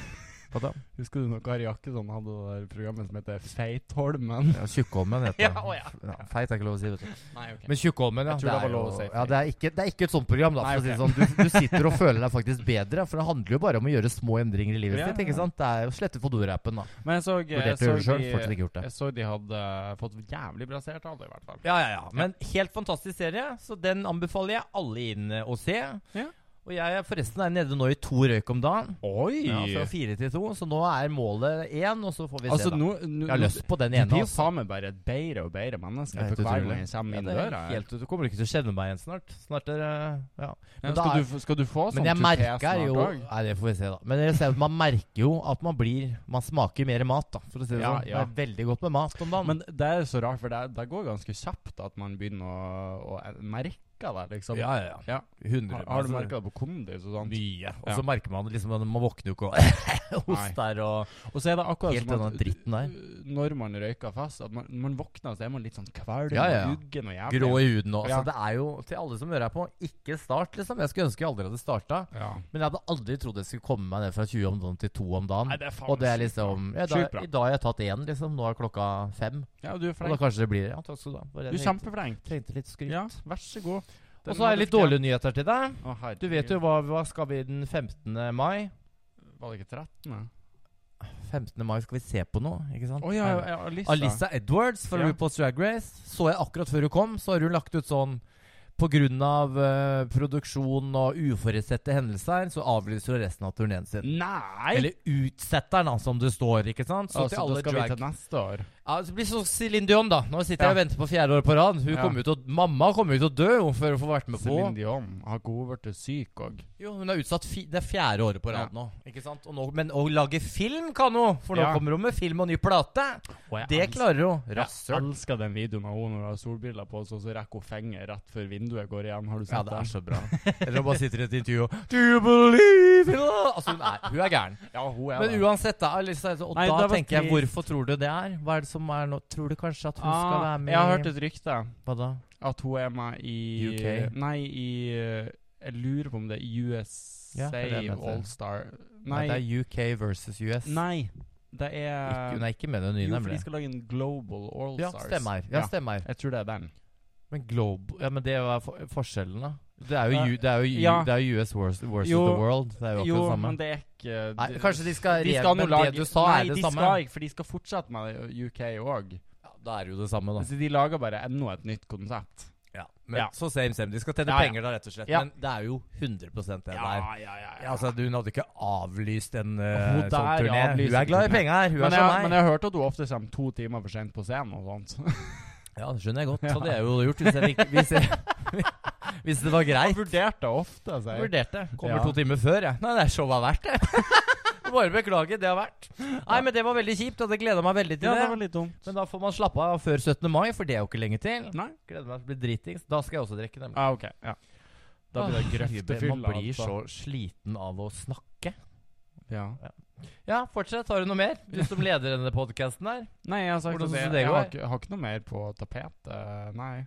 Speaker 1: husker du når Kari Jakkesson hadde det der programmet som heter Feitholmen?
Speaker 2: Ja, Tjukkholmen heter
Speaker 1: Ja, å ja.
Speaker 2: Ja, Feit er ikke lov å si, vet du.
Speaker 1: Nei, ok.
Speaker 2: Men Tjukkholmen, ja.
Speaker 1: Jeg tror det var
Speaker 2: er
Speaker 1: lov å
Speaker 2: jo-
Speaker 1: si
Speaker 2: ja det, er ikke, det er ikke et sånt program, da.
Speaker 1: Nei,
Speaker 2: for å si
Speaker 1: ok.
Speaker 2: det sånn. du, du sitter og føler deg faktisk bedre, for det handler jo bare om å gjøre små endringer i livet
Speaker 1: Ja,
Speaker 2: sitt.
Speaker 1: ja,
Speaker 2: ikke
Speaker 1: ja.
Speaker 2: sant? Det er jo slette Fodor-appen, da.
Speaker 1: Men jeg så, jeg,
Speaker 2: Vurderte å gjøre det
Speaker 1: så
Speaker 2: sjøl, fortsatt
Speaker 1: de,
Speaker 2: ikke gjort det.
Speaker 1: jeg så de hadde fått jævlig bra seertall, i hvert fall.
Speaker 2: Ja, ja, ja. Men helt fantastisk serie, så den anbefaler jeg alle inn eh, å se.
Speaker 1: Ja.
Speaker 2: Og jeg er forresten er nede nå i to røyk om dagen.
Speaker 1: Oi!
Speaker 2: Ja, fra fire til to, så nå er målet én, og så får vi
Speaker 1: altså,
Speaker 2: se, da.
Speaker 1: nå, nå,
Speaker 2: Jeg har lyst på den
Speaker 1: Du
Speaker 2: ene.
Speaker 1: blir jo
Speaker 2: altså.
Speaker 1: faen meg bare et bedre og bedre menneske
Speaker 2: Det er
Speaker 1: for
Speaker 2: helt
Speaker 1: hver
Speaker 2: utrolig.
Speaker 1: gang jeg kommer
Speaker 2: Ja,
Speaker 1: inn
Speaker 2: det er
Speaker 1: døra. her.
Speaker 2: helt, du kommer ikke til å kjenne meg igjen snart. Snart er det- ja.
Speaker 1: Ja,
Speaker 2: Men da
Speaker 1: skal,
Speaker 2: er-
Speaker 1: du, skal du få sånn
Speaker 2: Men jeg
Speaker 1: tupé
Speaker 2: merker
Speaker 1: snart
Speaker 2: jo
Speaker 1: også?
Speaker 2: Nei, det får vi se, da. Men jeg ser, at man merker jo at man blir Man smaker mer mat, da, for å si det
Speaker 1: Ja,
Speaker 2: sånn.
Speaker 1: ja.
Speaker 2: Det er veldig godt med mat om dagen.
Speaker 1: Men det er så rart, for det, det går ganske kjapt at man begynner å, å merke det, liksom.
Speaker 2: ja, ja, ja.
Speaker 1: Ja.
Speaker 2: 100
Speaker 1: Har, har du
Speaker 2: altså,
Speaker 1: merka det på kondis og sånt?
Speaker 2: Mye. Og
Speaker 1: Ja.
Speaker 2: så merker man liksom at man våkner jo ikke og hoster og
Speaker 1: Og så er det akkurat
Speaker 2: Helt
Speaker 1: som
Speaker 2: denne
Speaker 1: at
Speaker 2: dritten der.
Speaker 1: uh, når man røyker fast, at man, man våkner, så er man litt sånn kvalm
Speaker 2: Ja, ja.
Speaker 1: og uggen og jævlig.
Speaker 2: grå i huden og
Speaker 1: Ja.
Speaker 2: Så det er jo til alle som hører her på, ikke start, liksom. Jeg skulle ønske jeg aldri hadde starta.
Speaker 1: Ja.
Speaker 2: Men jeg hadde aldri trodd jeg skulle komme meg ned fra 20 om dagen til 2 om dagen.
Speaker 1: Nei, det er faen
Speaker 2: og det er
Speaker 1: sjukt bra.
Speaker 2: liksom ja, da,
Speaker 1: Sjukt bra.
Speaker 2: I dag har jeg tatt én, liksom. Nå er klokka fem.
Speaker 1: ja, du er
Speaker 2: Og da
Speaker 1: flink.
Speaker 2: kanskje det blir Ja, takk skal du ha. Bare
Speaker 1: Du er
Speaker 2: jeg
Speaker 1: kjempeflink.
Speaker 2: Trengte litt skryt.
Speaker 1: Ja, vær så god.
Speaker 2: Og så har jeg litt dårlige nyheter til deg.
Speaker 1: nyheter.
Speaker 2: Du vet jo hva, hva skal vi den 15. mai?
Speaker 1: Var det ikke 13.? Å
Speaker 2: 15. mai skal vi se på noe, ikke sant?
Speaker 1: ja,
Speaker 2: Her.
Speaker 1: ja, Alissa.
Speaker 2: Alissa Edwards fra
Speaker 1: Ja.
Speaker 2: RuPaul's Drag Race så jeg akkurat før hun kom. Så har hun lagt ut sånn Pga. Uh, produksjon og uforutsette hendelser så avlyser hun resten av turneen sin.
Speaker 1: Nei!
Speaker 2: Eller utsetter den, da, som det står. ikke sant? Så
Speaker 1: altså,
Speaker 2: til alle
Speaker 1: da skal vi
Speaker 2: drag...
Speaker 1: til neste år.
Speaker 2: Ja, så blir det sånn Céline Dion, da. Nå sitter
Speaker 1: Ja.
Speaker 2: jeg og venter på fjerde år på rad. Hun
Speaker 1: Ja.
Speaker 2: kommer jo til å, mamma kommer jo til å dø hun, før hun får vært med på
Speaker 1: Céline Dion har god vært syk òg.
Speaker 2: Jo, hun er utsatt fi, det er fjerde året på rad nå. Ikke sant? Og nå men å lage film kan hun! For nå
Speaker 1: Ja.
Speaker 2: kommer hun med film og ny plate. Det klarer hun.
Speaker 1: Jeg
Speaker 2: Rasshøl.
Speaker 1: elsker den videoen av henne når hun har solbriller på seg, og så rekker hun fingeren rett før vinduet går igjen. Har du sett
Speaker 2: Ja, det er så
Speaker 1: bra.
Speaker 2: Eller hun bare sitter i et intervju og Do you believe in love? Altså, hun er, hun er gæren.
Speaker 1: ja, hun er
Speaker 2: Men
Speaker 1: det.
Speaker 2: uansett, da. Alisa, og
Speaker 1: Nei,
Speaker 2: da
Speaker 1: det var
Speaker 2: tenker jeg,
Speaker 1: trist.
Speaker 2: hvorfor tror du det er? Hva er det som er nå? Tror du kanskje at hun skal
Speaker 1: Ah,
Speaker 2: være med
Speaker 1: jeg har hørt et rykte
Speaker 2: Hva da?
Speaker 1: at hun er med i
Speaker 2: UK?
Speaker 1: Nei, i eh, Jeg lurer på om det er USA
Speaker 2: Ja, det er det jeg mente.
Speaker 1: Allstar Nei.
Speaker 2: Nei. Det er UK versus US.
Speaker 1: nei, det
Speaker 2: Ikke,
Speaker 1: er
Speaker 2: hun er ikke med i den nye,
Speaker 1: Jo, for
Speaker 2: nemlig.
Speaker 1: de skal lage en Global
Speaker 2: Ja,
Speaker 1: Allstars.
Speaker 2: stemmer. Ja, stemmer.
Speaker 1: Jeg tror det er den.
Speaker 2: Men Globe Ja, men det er for forskjellen, da. Det er jo,
Speaker 1: Ja.
Speaker 2: U- det er jo, U-
Speaker 1: Eh, Ja.
Speaker 2: det er jo US versus, versus
Speaker 1: Jo.
Speaker 2: the world. Det er jo akkurat
Speaker 1: Jo,
Speaker 2: det samme.
Speaker 1: men det er ikke
Speaker 2: Nei,
Speaker 1: de-
Speaker 2: kanskje de skal,
Speaker 1: de
Speaker 2: re-
Speaker 1: skal nå
Speaker 2: Men
Speaker 1: lage
Speaker 2: det du sa,
Speaker 1: Nei,
Speaker 2: er det
Speaker 1: de
Speaker 2: samme.
Speaker 1: skal ikke, for de skal fortsette med UK òg.
Speaker 2: Ja, da er det jo det samme, da.
Speaker 1: Så de lager bare enda et nytt konsept.
Speaker 2: Ja, men,
Speaker 1: Ja.
Speaker 2: Så same, same. De skal tjene
Speaker 1: Ja, ja.
Speaker 2: penger, da, rett og slett.
Speaker 1: Ja.
Speaker 2: Men det er jo 100 det der.
Speaker 1: ja, ja.
Speaker 2: Ja, altså, Hun hadde ikke avlyst en eh,
Speaker 1: Hun der
Speaker 2: sånn turné. Hun
Speaker 1: avlyser
Speaker 2: er glad i
Speaker 1: turné.
Speaker 2: penger. Hun
Speaker 1: men,
Speaker 2: er
Speaker 1: jeg,
Speaker 2: som
Speaker 1: men
Speaker 2: meg.
Speaker 1: jeg har hørt at hun ofte kommer to timer for sent på scenen og sånt.
Speaker 2: Ja, det skjønner jeg godt. Så det er jo gjort hvis, jeg, fikk- hvis, jeg, hvis det var
Speaker 1: Jeg
Speaker 2: greit.
Speaker 1: vurderte ofte, sier jeg.
Speaker 2: Vurderte. Kommer
Speaker 1: Ja.
Speaker 2: to timer før, jeg. Nei, det er showet er verdt det. Bare beklage, det har vært. Nei, men det var veldig kjipt, og det gleda meg veldig til
Speaker 1: Ja, det
Speaker 2: det.
Speaker 1: var litt dumt.
Speaker 2: Men da får man slappe av før 17. mai, for det er jo ikke lenge til.
Speaker 1: Nei?
Speaker 2: Gleder meg til å bli dritings. Da skal jeg også drikke, nemlig.
Speaker 1: Ah, ok. Ja. Da blir det
Speaker 2: Åh,
Speaker 1: grøftefylla.
Speaker 2: Man blir
Speaker 1: altså.
Speaker 2: så sliten av å snakke.
Speaker 1: ja.
Speaker 2: Ja, fortsett. Har du noe mer? Du som leder denne podkasten her.
Speaker 1: Nei, jeg har sagt
Speaker 2: Hvordan
Speaker 1: at
Speaker 2: synes
Speaker 1: jeg,
Speaker 2: du det
Speaker 1: jeg har,
Speaker 2: går?
Speaker 1: ikke, har ikke noe mer på tapetet. Nei.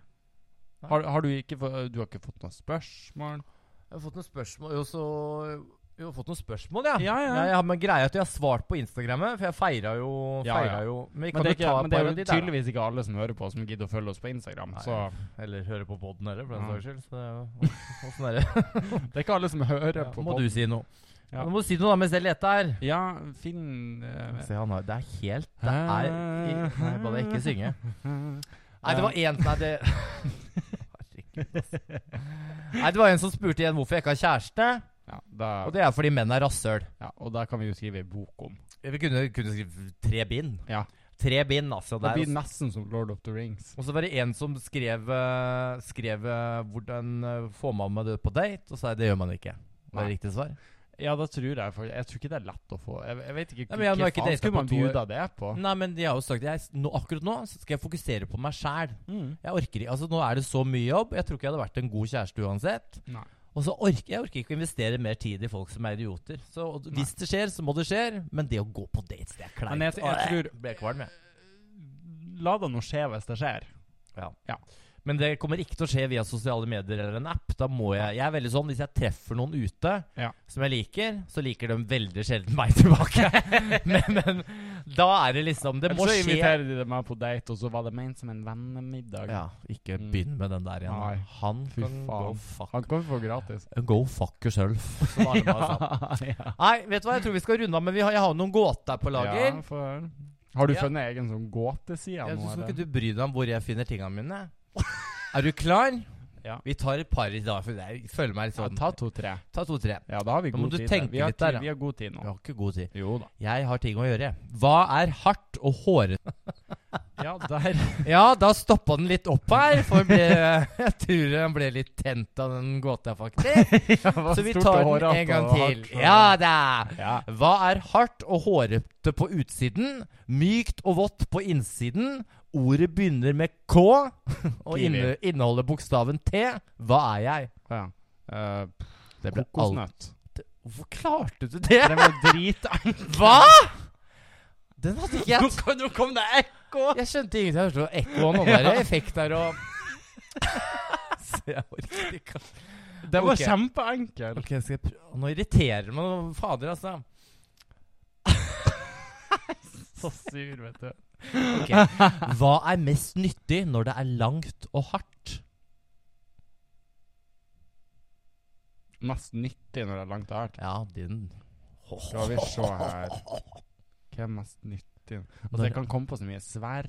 Speaker 2: Nei.
Speaker 1: Har, har du, ikke, få- du har ikke fått noen spørsmål?
Speaker 2: Jeg har fått noen spørsmål Jo, så Jo, jeg har fått noen spørsmål, ja.
Speaker 1: Ja, ja.
Speaker 2: Jeg har, men greia er at jeg har svart på Instagrammet, for jeg feira jo,
Speaker 1: Ja,
Speaker 2: feira
Speaker 1: ja.
Speaker 2: jo Men,
Speaker 1: Men
Speaker 2: vi kan
Speaker 1: det, er
Speaker 2: jo
Speaker 1: ikke,
Speaker 2: ta
Speaker 1: men
Speaker 2: et
Speaker 1: det
Speaker 2: par
Speaker 1: er
Speaker 2: av
Speaker 1: jo
Speaker 2: de der, da.
Speaker 1: tydeligvis ikke alle som hører på, som gidder å følge oss på Instagram.
Speaker 2: Nei.
Speaker 1: Så
Speaker 2: Eller høre på poden heller, for den
Speaker 1: Ja.
Speaker 2: saks skyld. Så det er jo åssen er det.
Speaker 1: det er ikke alle som hører
Speaker 2: Ja,
Speaker 1: på.
Speaker 2: sånn må
Speaker 1: podden.
Speaker 2: du si noe.
Speaker 1: Ja.
Speaker 2: Nå må du si noe da mens jeg leter her.
Speaker 1: Ja, Finn eh,
Speaker 2: Se, han har Det er helt Det er i- Nei, bare ikke synge. Nei, det var én Nei, det Herregud, ass. Nei, det var en som spurte igjen hvorfor jeg ikke har kjæreste.
Speaker 1: ja, da,
Speaker 2: Og det er fordi menn er rasshøl.
Speaker 1: ja, og da kan vi jo skrive en bok om.
Speaker 2: Vi kunne, kunne skrive tre bind.
Speaker 1: Ja.
Speaker 2: Tre bind, altså.
Speaker 1: Det
Speaker 2: Der,
Speaker 1: blir
Speaker 2: altså.
Speaker 1: nesten som Lord of the Rings.
Speaker 2: Og så var det en som skrev, eh, skrev eh, 'Hvordan eh, får man med det på date?' Og så sa jeg det gjør man ikke. Det er
Speaker 1: Nei.
Speaker 2: riktig svar.
Speaker 1: Ja, da tror jeg for Jeg tror ikke det er lett å få Jeg, jeg vet ikke
Speaker 2: Ja, men jeg har
Speaker 1: hva
Speaker 2: ikke
Speaker 1: faen
Speaker 2: datet
Speaker 1: skulle
Speaker 2: på
Speaker 1: man
Speaker 2: to år.
Speaker 1: bjuda det på.
Speaker 2: Nei, men de har jo sagt jeg, nå, akkurat nå så skal jeg fokusere på meg sjæl.
Speaker 1: Mm.
Speaker 2: Jeg orker ikke, altså Nå er det så mye jobb. Jeg tror ikke jeg hadde vært en god kjæreste uansett.
Speaker 1: Nei.
Speaker 2: Og så orker jeg orker ikke å investere mer tid i folk som er idioter. Så og hvis det skjer, så må det skje. Men det å gå på dates, det er kleint.
Speaker 1: Men jeg- jeg
Speaker 2: Åh,
Speaker 1: tror-
Speaker 2: ble kvalm, jeg.
Speaker 1: La det nå skje hvis det skjer.
Speaker 2: Men det kommer ikke til å skje via sosiale medier eller en app. Da må jeg, jeg er veldig sånn, Hvis jeg treffer noen ute
Speaker 1: Ja.
Speaker 2: som jeg liker, så liker de veldig sjelden meg tilbake. men, men da er det liksom Det
Speaker 1: Eller
Speaker 2: må
Speaker 1: så
Speaker 2: skje.
Speaker 1: inviterer de deg med på date, og så var det ment som en vennemiddag.
Speaker 2: Ja, ikke
Speaker 1: Mm.
Speaker 2: begynn med den der igjen.
Speaker 1: Nei.
Speaker 2: Han
Speaker 1: Fy faen.
Speaker 2: kan go fuck,
Speaker 1: Han kan få gratis.
Speaker 2: go fuck yourself. som alle bare sa.
Speaker 1: ja.
Speaker 2: Nei, vet du hva, jeg tror vi skal runde av, men vi har, jeg har noen gåter altså. på lager.
Speaker 1: Ja, for, har du
Speaker 2: Ja.
Speaker 1: funnet egen sånn gåteside
Speaker 2: Jeg
Speaker 1: nå?
Speaker 2: synes
Speaker 1: eller?
Speaker 2: ikke du bryr deg om hvor jeg finner tingene mine. er du klar?
Speaker 1: Ja.
Speaker 2: Vi tar et par i dag, for jeg føler meg litt
Speaker 1: Ja,
Speaker 2: sånn
Speaker 1: ta to-tre.
Speaker 2: ta to-tre.
Speaker 1: Ja, da har vi
Speaker 2: Da må
Speaker 1: god
Speaker 2: du
Speaker 1: tid.
Speaker 2: tenke
Speaker 1: vi, har
Speaker 2: litt der,
Speaker 1: tid-
Speaker 2: ja.
Speaker 1: vi har god tid
Speaker 2: Vi
Speaker 1: nå.
Speaker 2: har ikke god tid.
Speaker 1: Jo da.
Speaker 2: Jeg har ting å gjøre. Hva er hardt og hårete?
Speaker 1: Ja, der
Speaker 2: Ja, da stoppa den litt opp her, for jeg ble- jeg tror han ble litt tent av den gåta, faktisk. Så vi tar den en gang til. Ja da!
Speaker 1: ja.
Speaker 2: Hva er hardt og hårete på utsiden? Mykt og vått på innsiden? Ordet begynner med K og
Speaker 1: Kiwi.
Speaker 2: inne, inneholder bokstaven T. Hva er jeg?
Speaker 1: ja. Eh,
Speaker 2: Det ble alt.
Speaker 1: kokosnøtt.
Speaker 2: Hvorfor klarte du det?
Speaker 1: Den var dritenkel.
Speaker 2: Hva?! Den hadde ikke jeg
Speaker 1: kom, nå kom det ekko!
Speaker 2: Jeg skjønte ingenting. Jeg hørte ekkoen og der effekt der og Så jeg orker ikke.
Speaker 1: Den var
Speaker 2: Ok.
Speaker 1: kjempeenkel.
Speaker 2: Ok, skal jeg prøve Nå irriterer det meg. Fader, altså.
Speaker 1: Så sur, vet du.
Speaker 2: Ok. Hva er mest nyttig når det er langt og hardt?
Speaker 1: Mest nyttig når det er langt og hardt.
Speaker 2: Ja, din
Speaker 1: Skal vi se her Hva er mest nyttig rett inn. Altså, jeg kan komme på så mye sverd.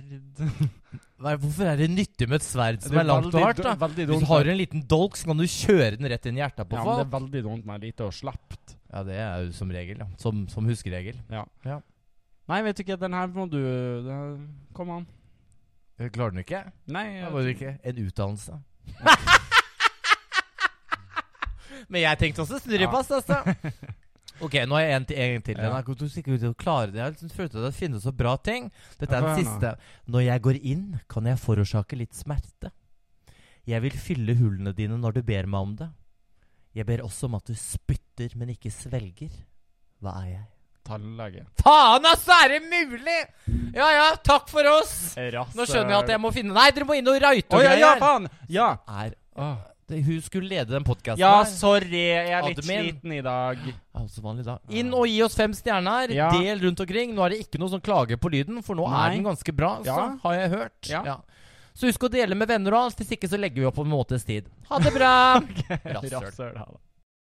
Speaker 2: Hva- Hvorfor er det nyttig med et sverd som
Speaker 1: Det
Speaker 2: er langt og
Speaker 1: veldig
Speaker 2: hardt?
Speaker 1: du-
Speaker 2: da?
Speaker 1: Veldig
Speaker 2: Hvis
Speaker 1: dumt.
Speaker 2: du har en liten dolk, så kan du kjøre den rett inn i hjertet på
Speaker 1: ja, men det
Speaker 2: folk.
Speaker 1: er veldig dumt med lite og slapt.
Speaker 2: Ja, det er jo som regel, ja. Som, som huskeregel.
Speaker 1: Nei, vet du ikke, den her må du den, Kom an.
Speaker 2: Jeg Klarer den ikke?
Speaker 1: Nei,
Speaker 2: Da
Speaker 1: jeg-
Speaker 2: var det ikke en utdannelse. Men jeg tenkte også snurrepass, altså. Ok, nå har jeg en til. En til. Den
Speaker 1: Ja.
Speaker 2: er ikke- du sikkert til å klare det. Jeg liksom følte at jeg finnes så bra ting. Dette
Speaker 1: Ja,
Speaker 2: er
Speaker 1: få
Speaker 2: den
Speaker 1: høre
Speaker 2: siste. Når jeg går inn, kan jeg forårsake litt smerte. Jeg vil fylle hullene dine når du ber meg om det. Jeg ber også om at du spytter, men ikke svelger. Hva er jeg?
Speaker 1: tannlege.
Speaker 2: Faen, altså! Er det mulig? Ja ja, takk for oss!
Speaker 1: Rasse.
Speaker 2: Nå skjønner jeg at jeg må finne Nei, dere må inn og write
Speaker 1: Å
Speaker 2: og
Speaker 1: ja, ja,
Speaker 2: greier.
Speaker 1: faen! Ja.
Speaker 2: er eh,
Speaker 1: Åh.
Speaker 2: det, Hun skulle lede den podkasten
Speaker 1: Ja,
Speaker 2: her.
Speaker 1: sorry, jeg er litt
Speaker 2: Admin.
Speaker 1: sliten i dag.
Speaker 2: Ja, som vanlig da. Inn og gi oss fem stjerner.
Speaker 1: Ja.
Speaker 2: Del rundt omkring. Nå er det ikke noe som klager på lyden, for nå
Speaker 1: Nei.
Speaker 2: er den ganske bra, så
Speaker 1: Ja.
Speaker 2: har jeg hørt.
Speaker 1: Ja.
Speaker 2: Så husk å dele med venner og alt, hvis ikke så legger vi opp om en måneds tid. Ha det bra! Rasshøl.
Speaker 1: Rasshøl, ha det.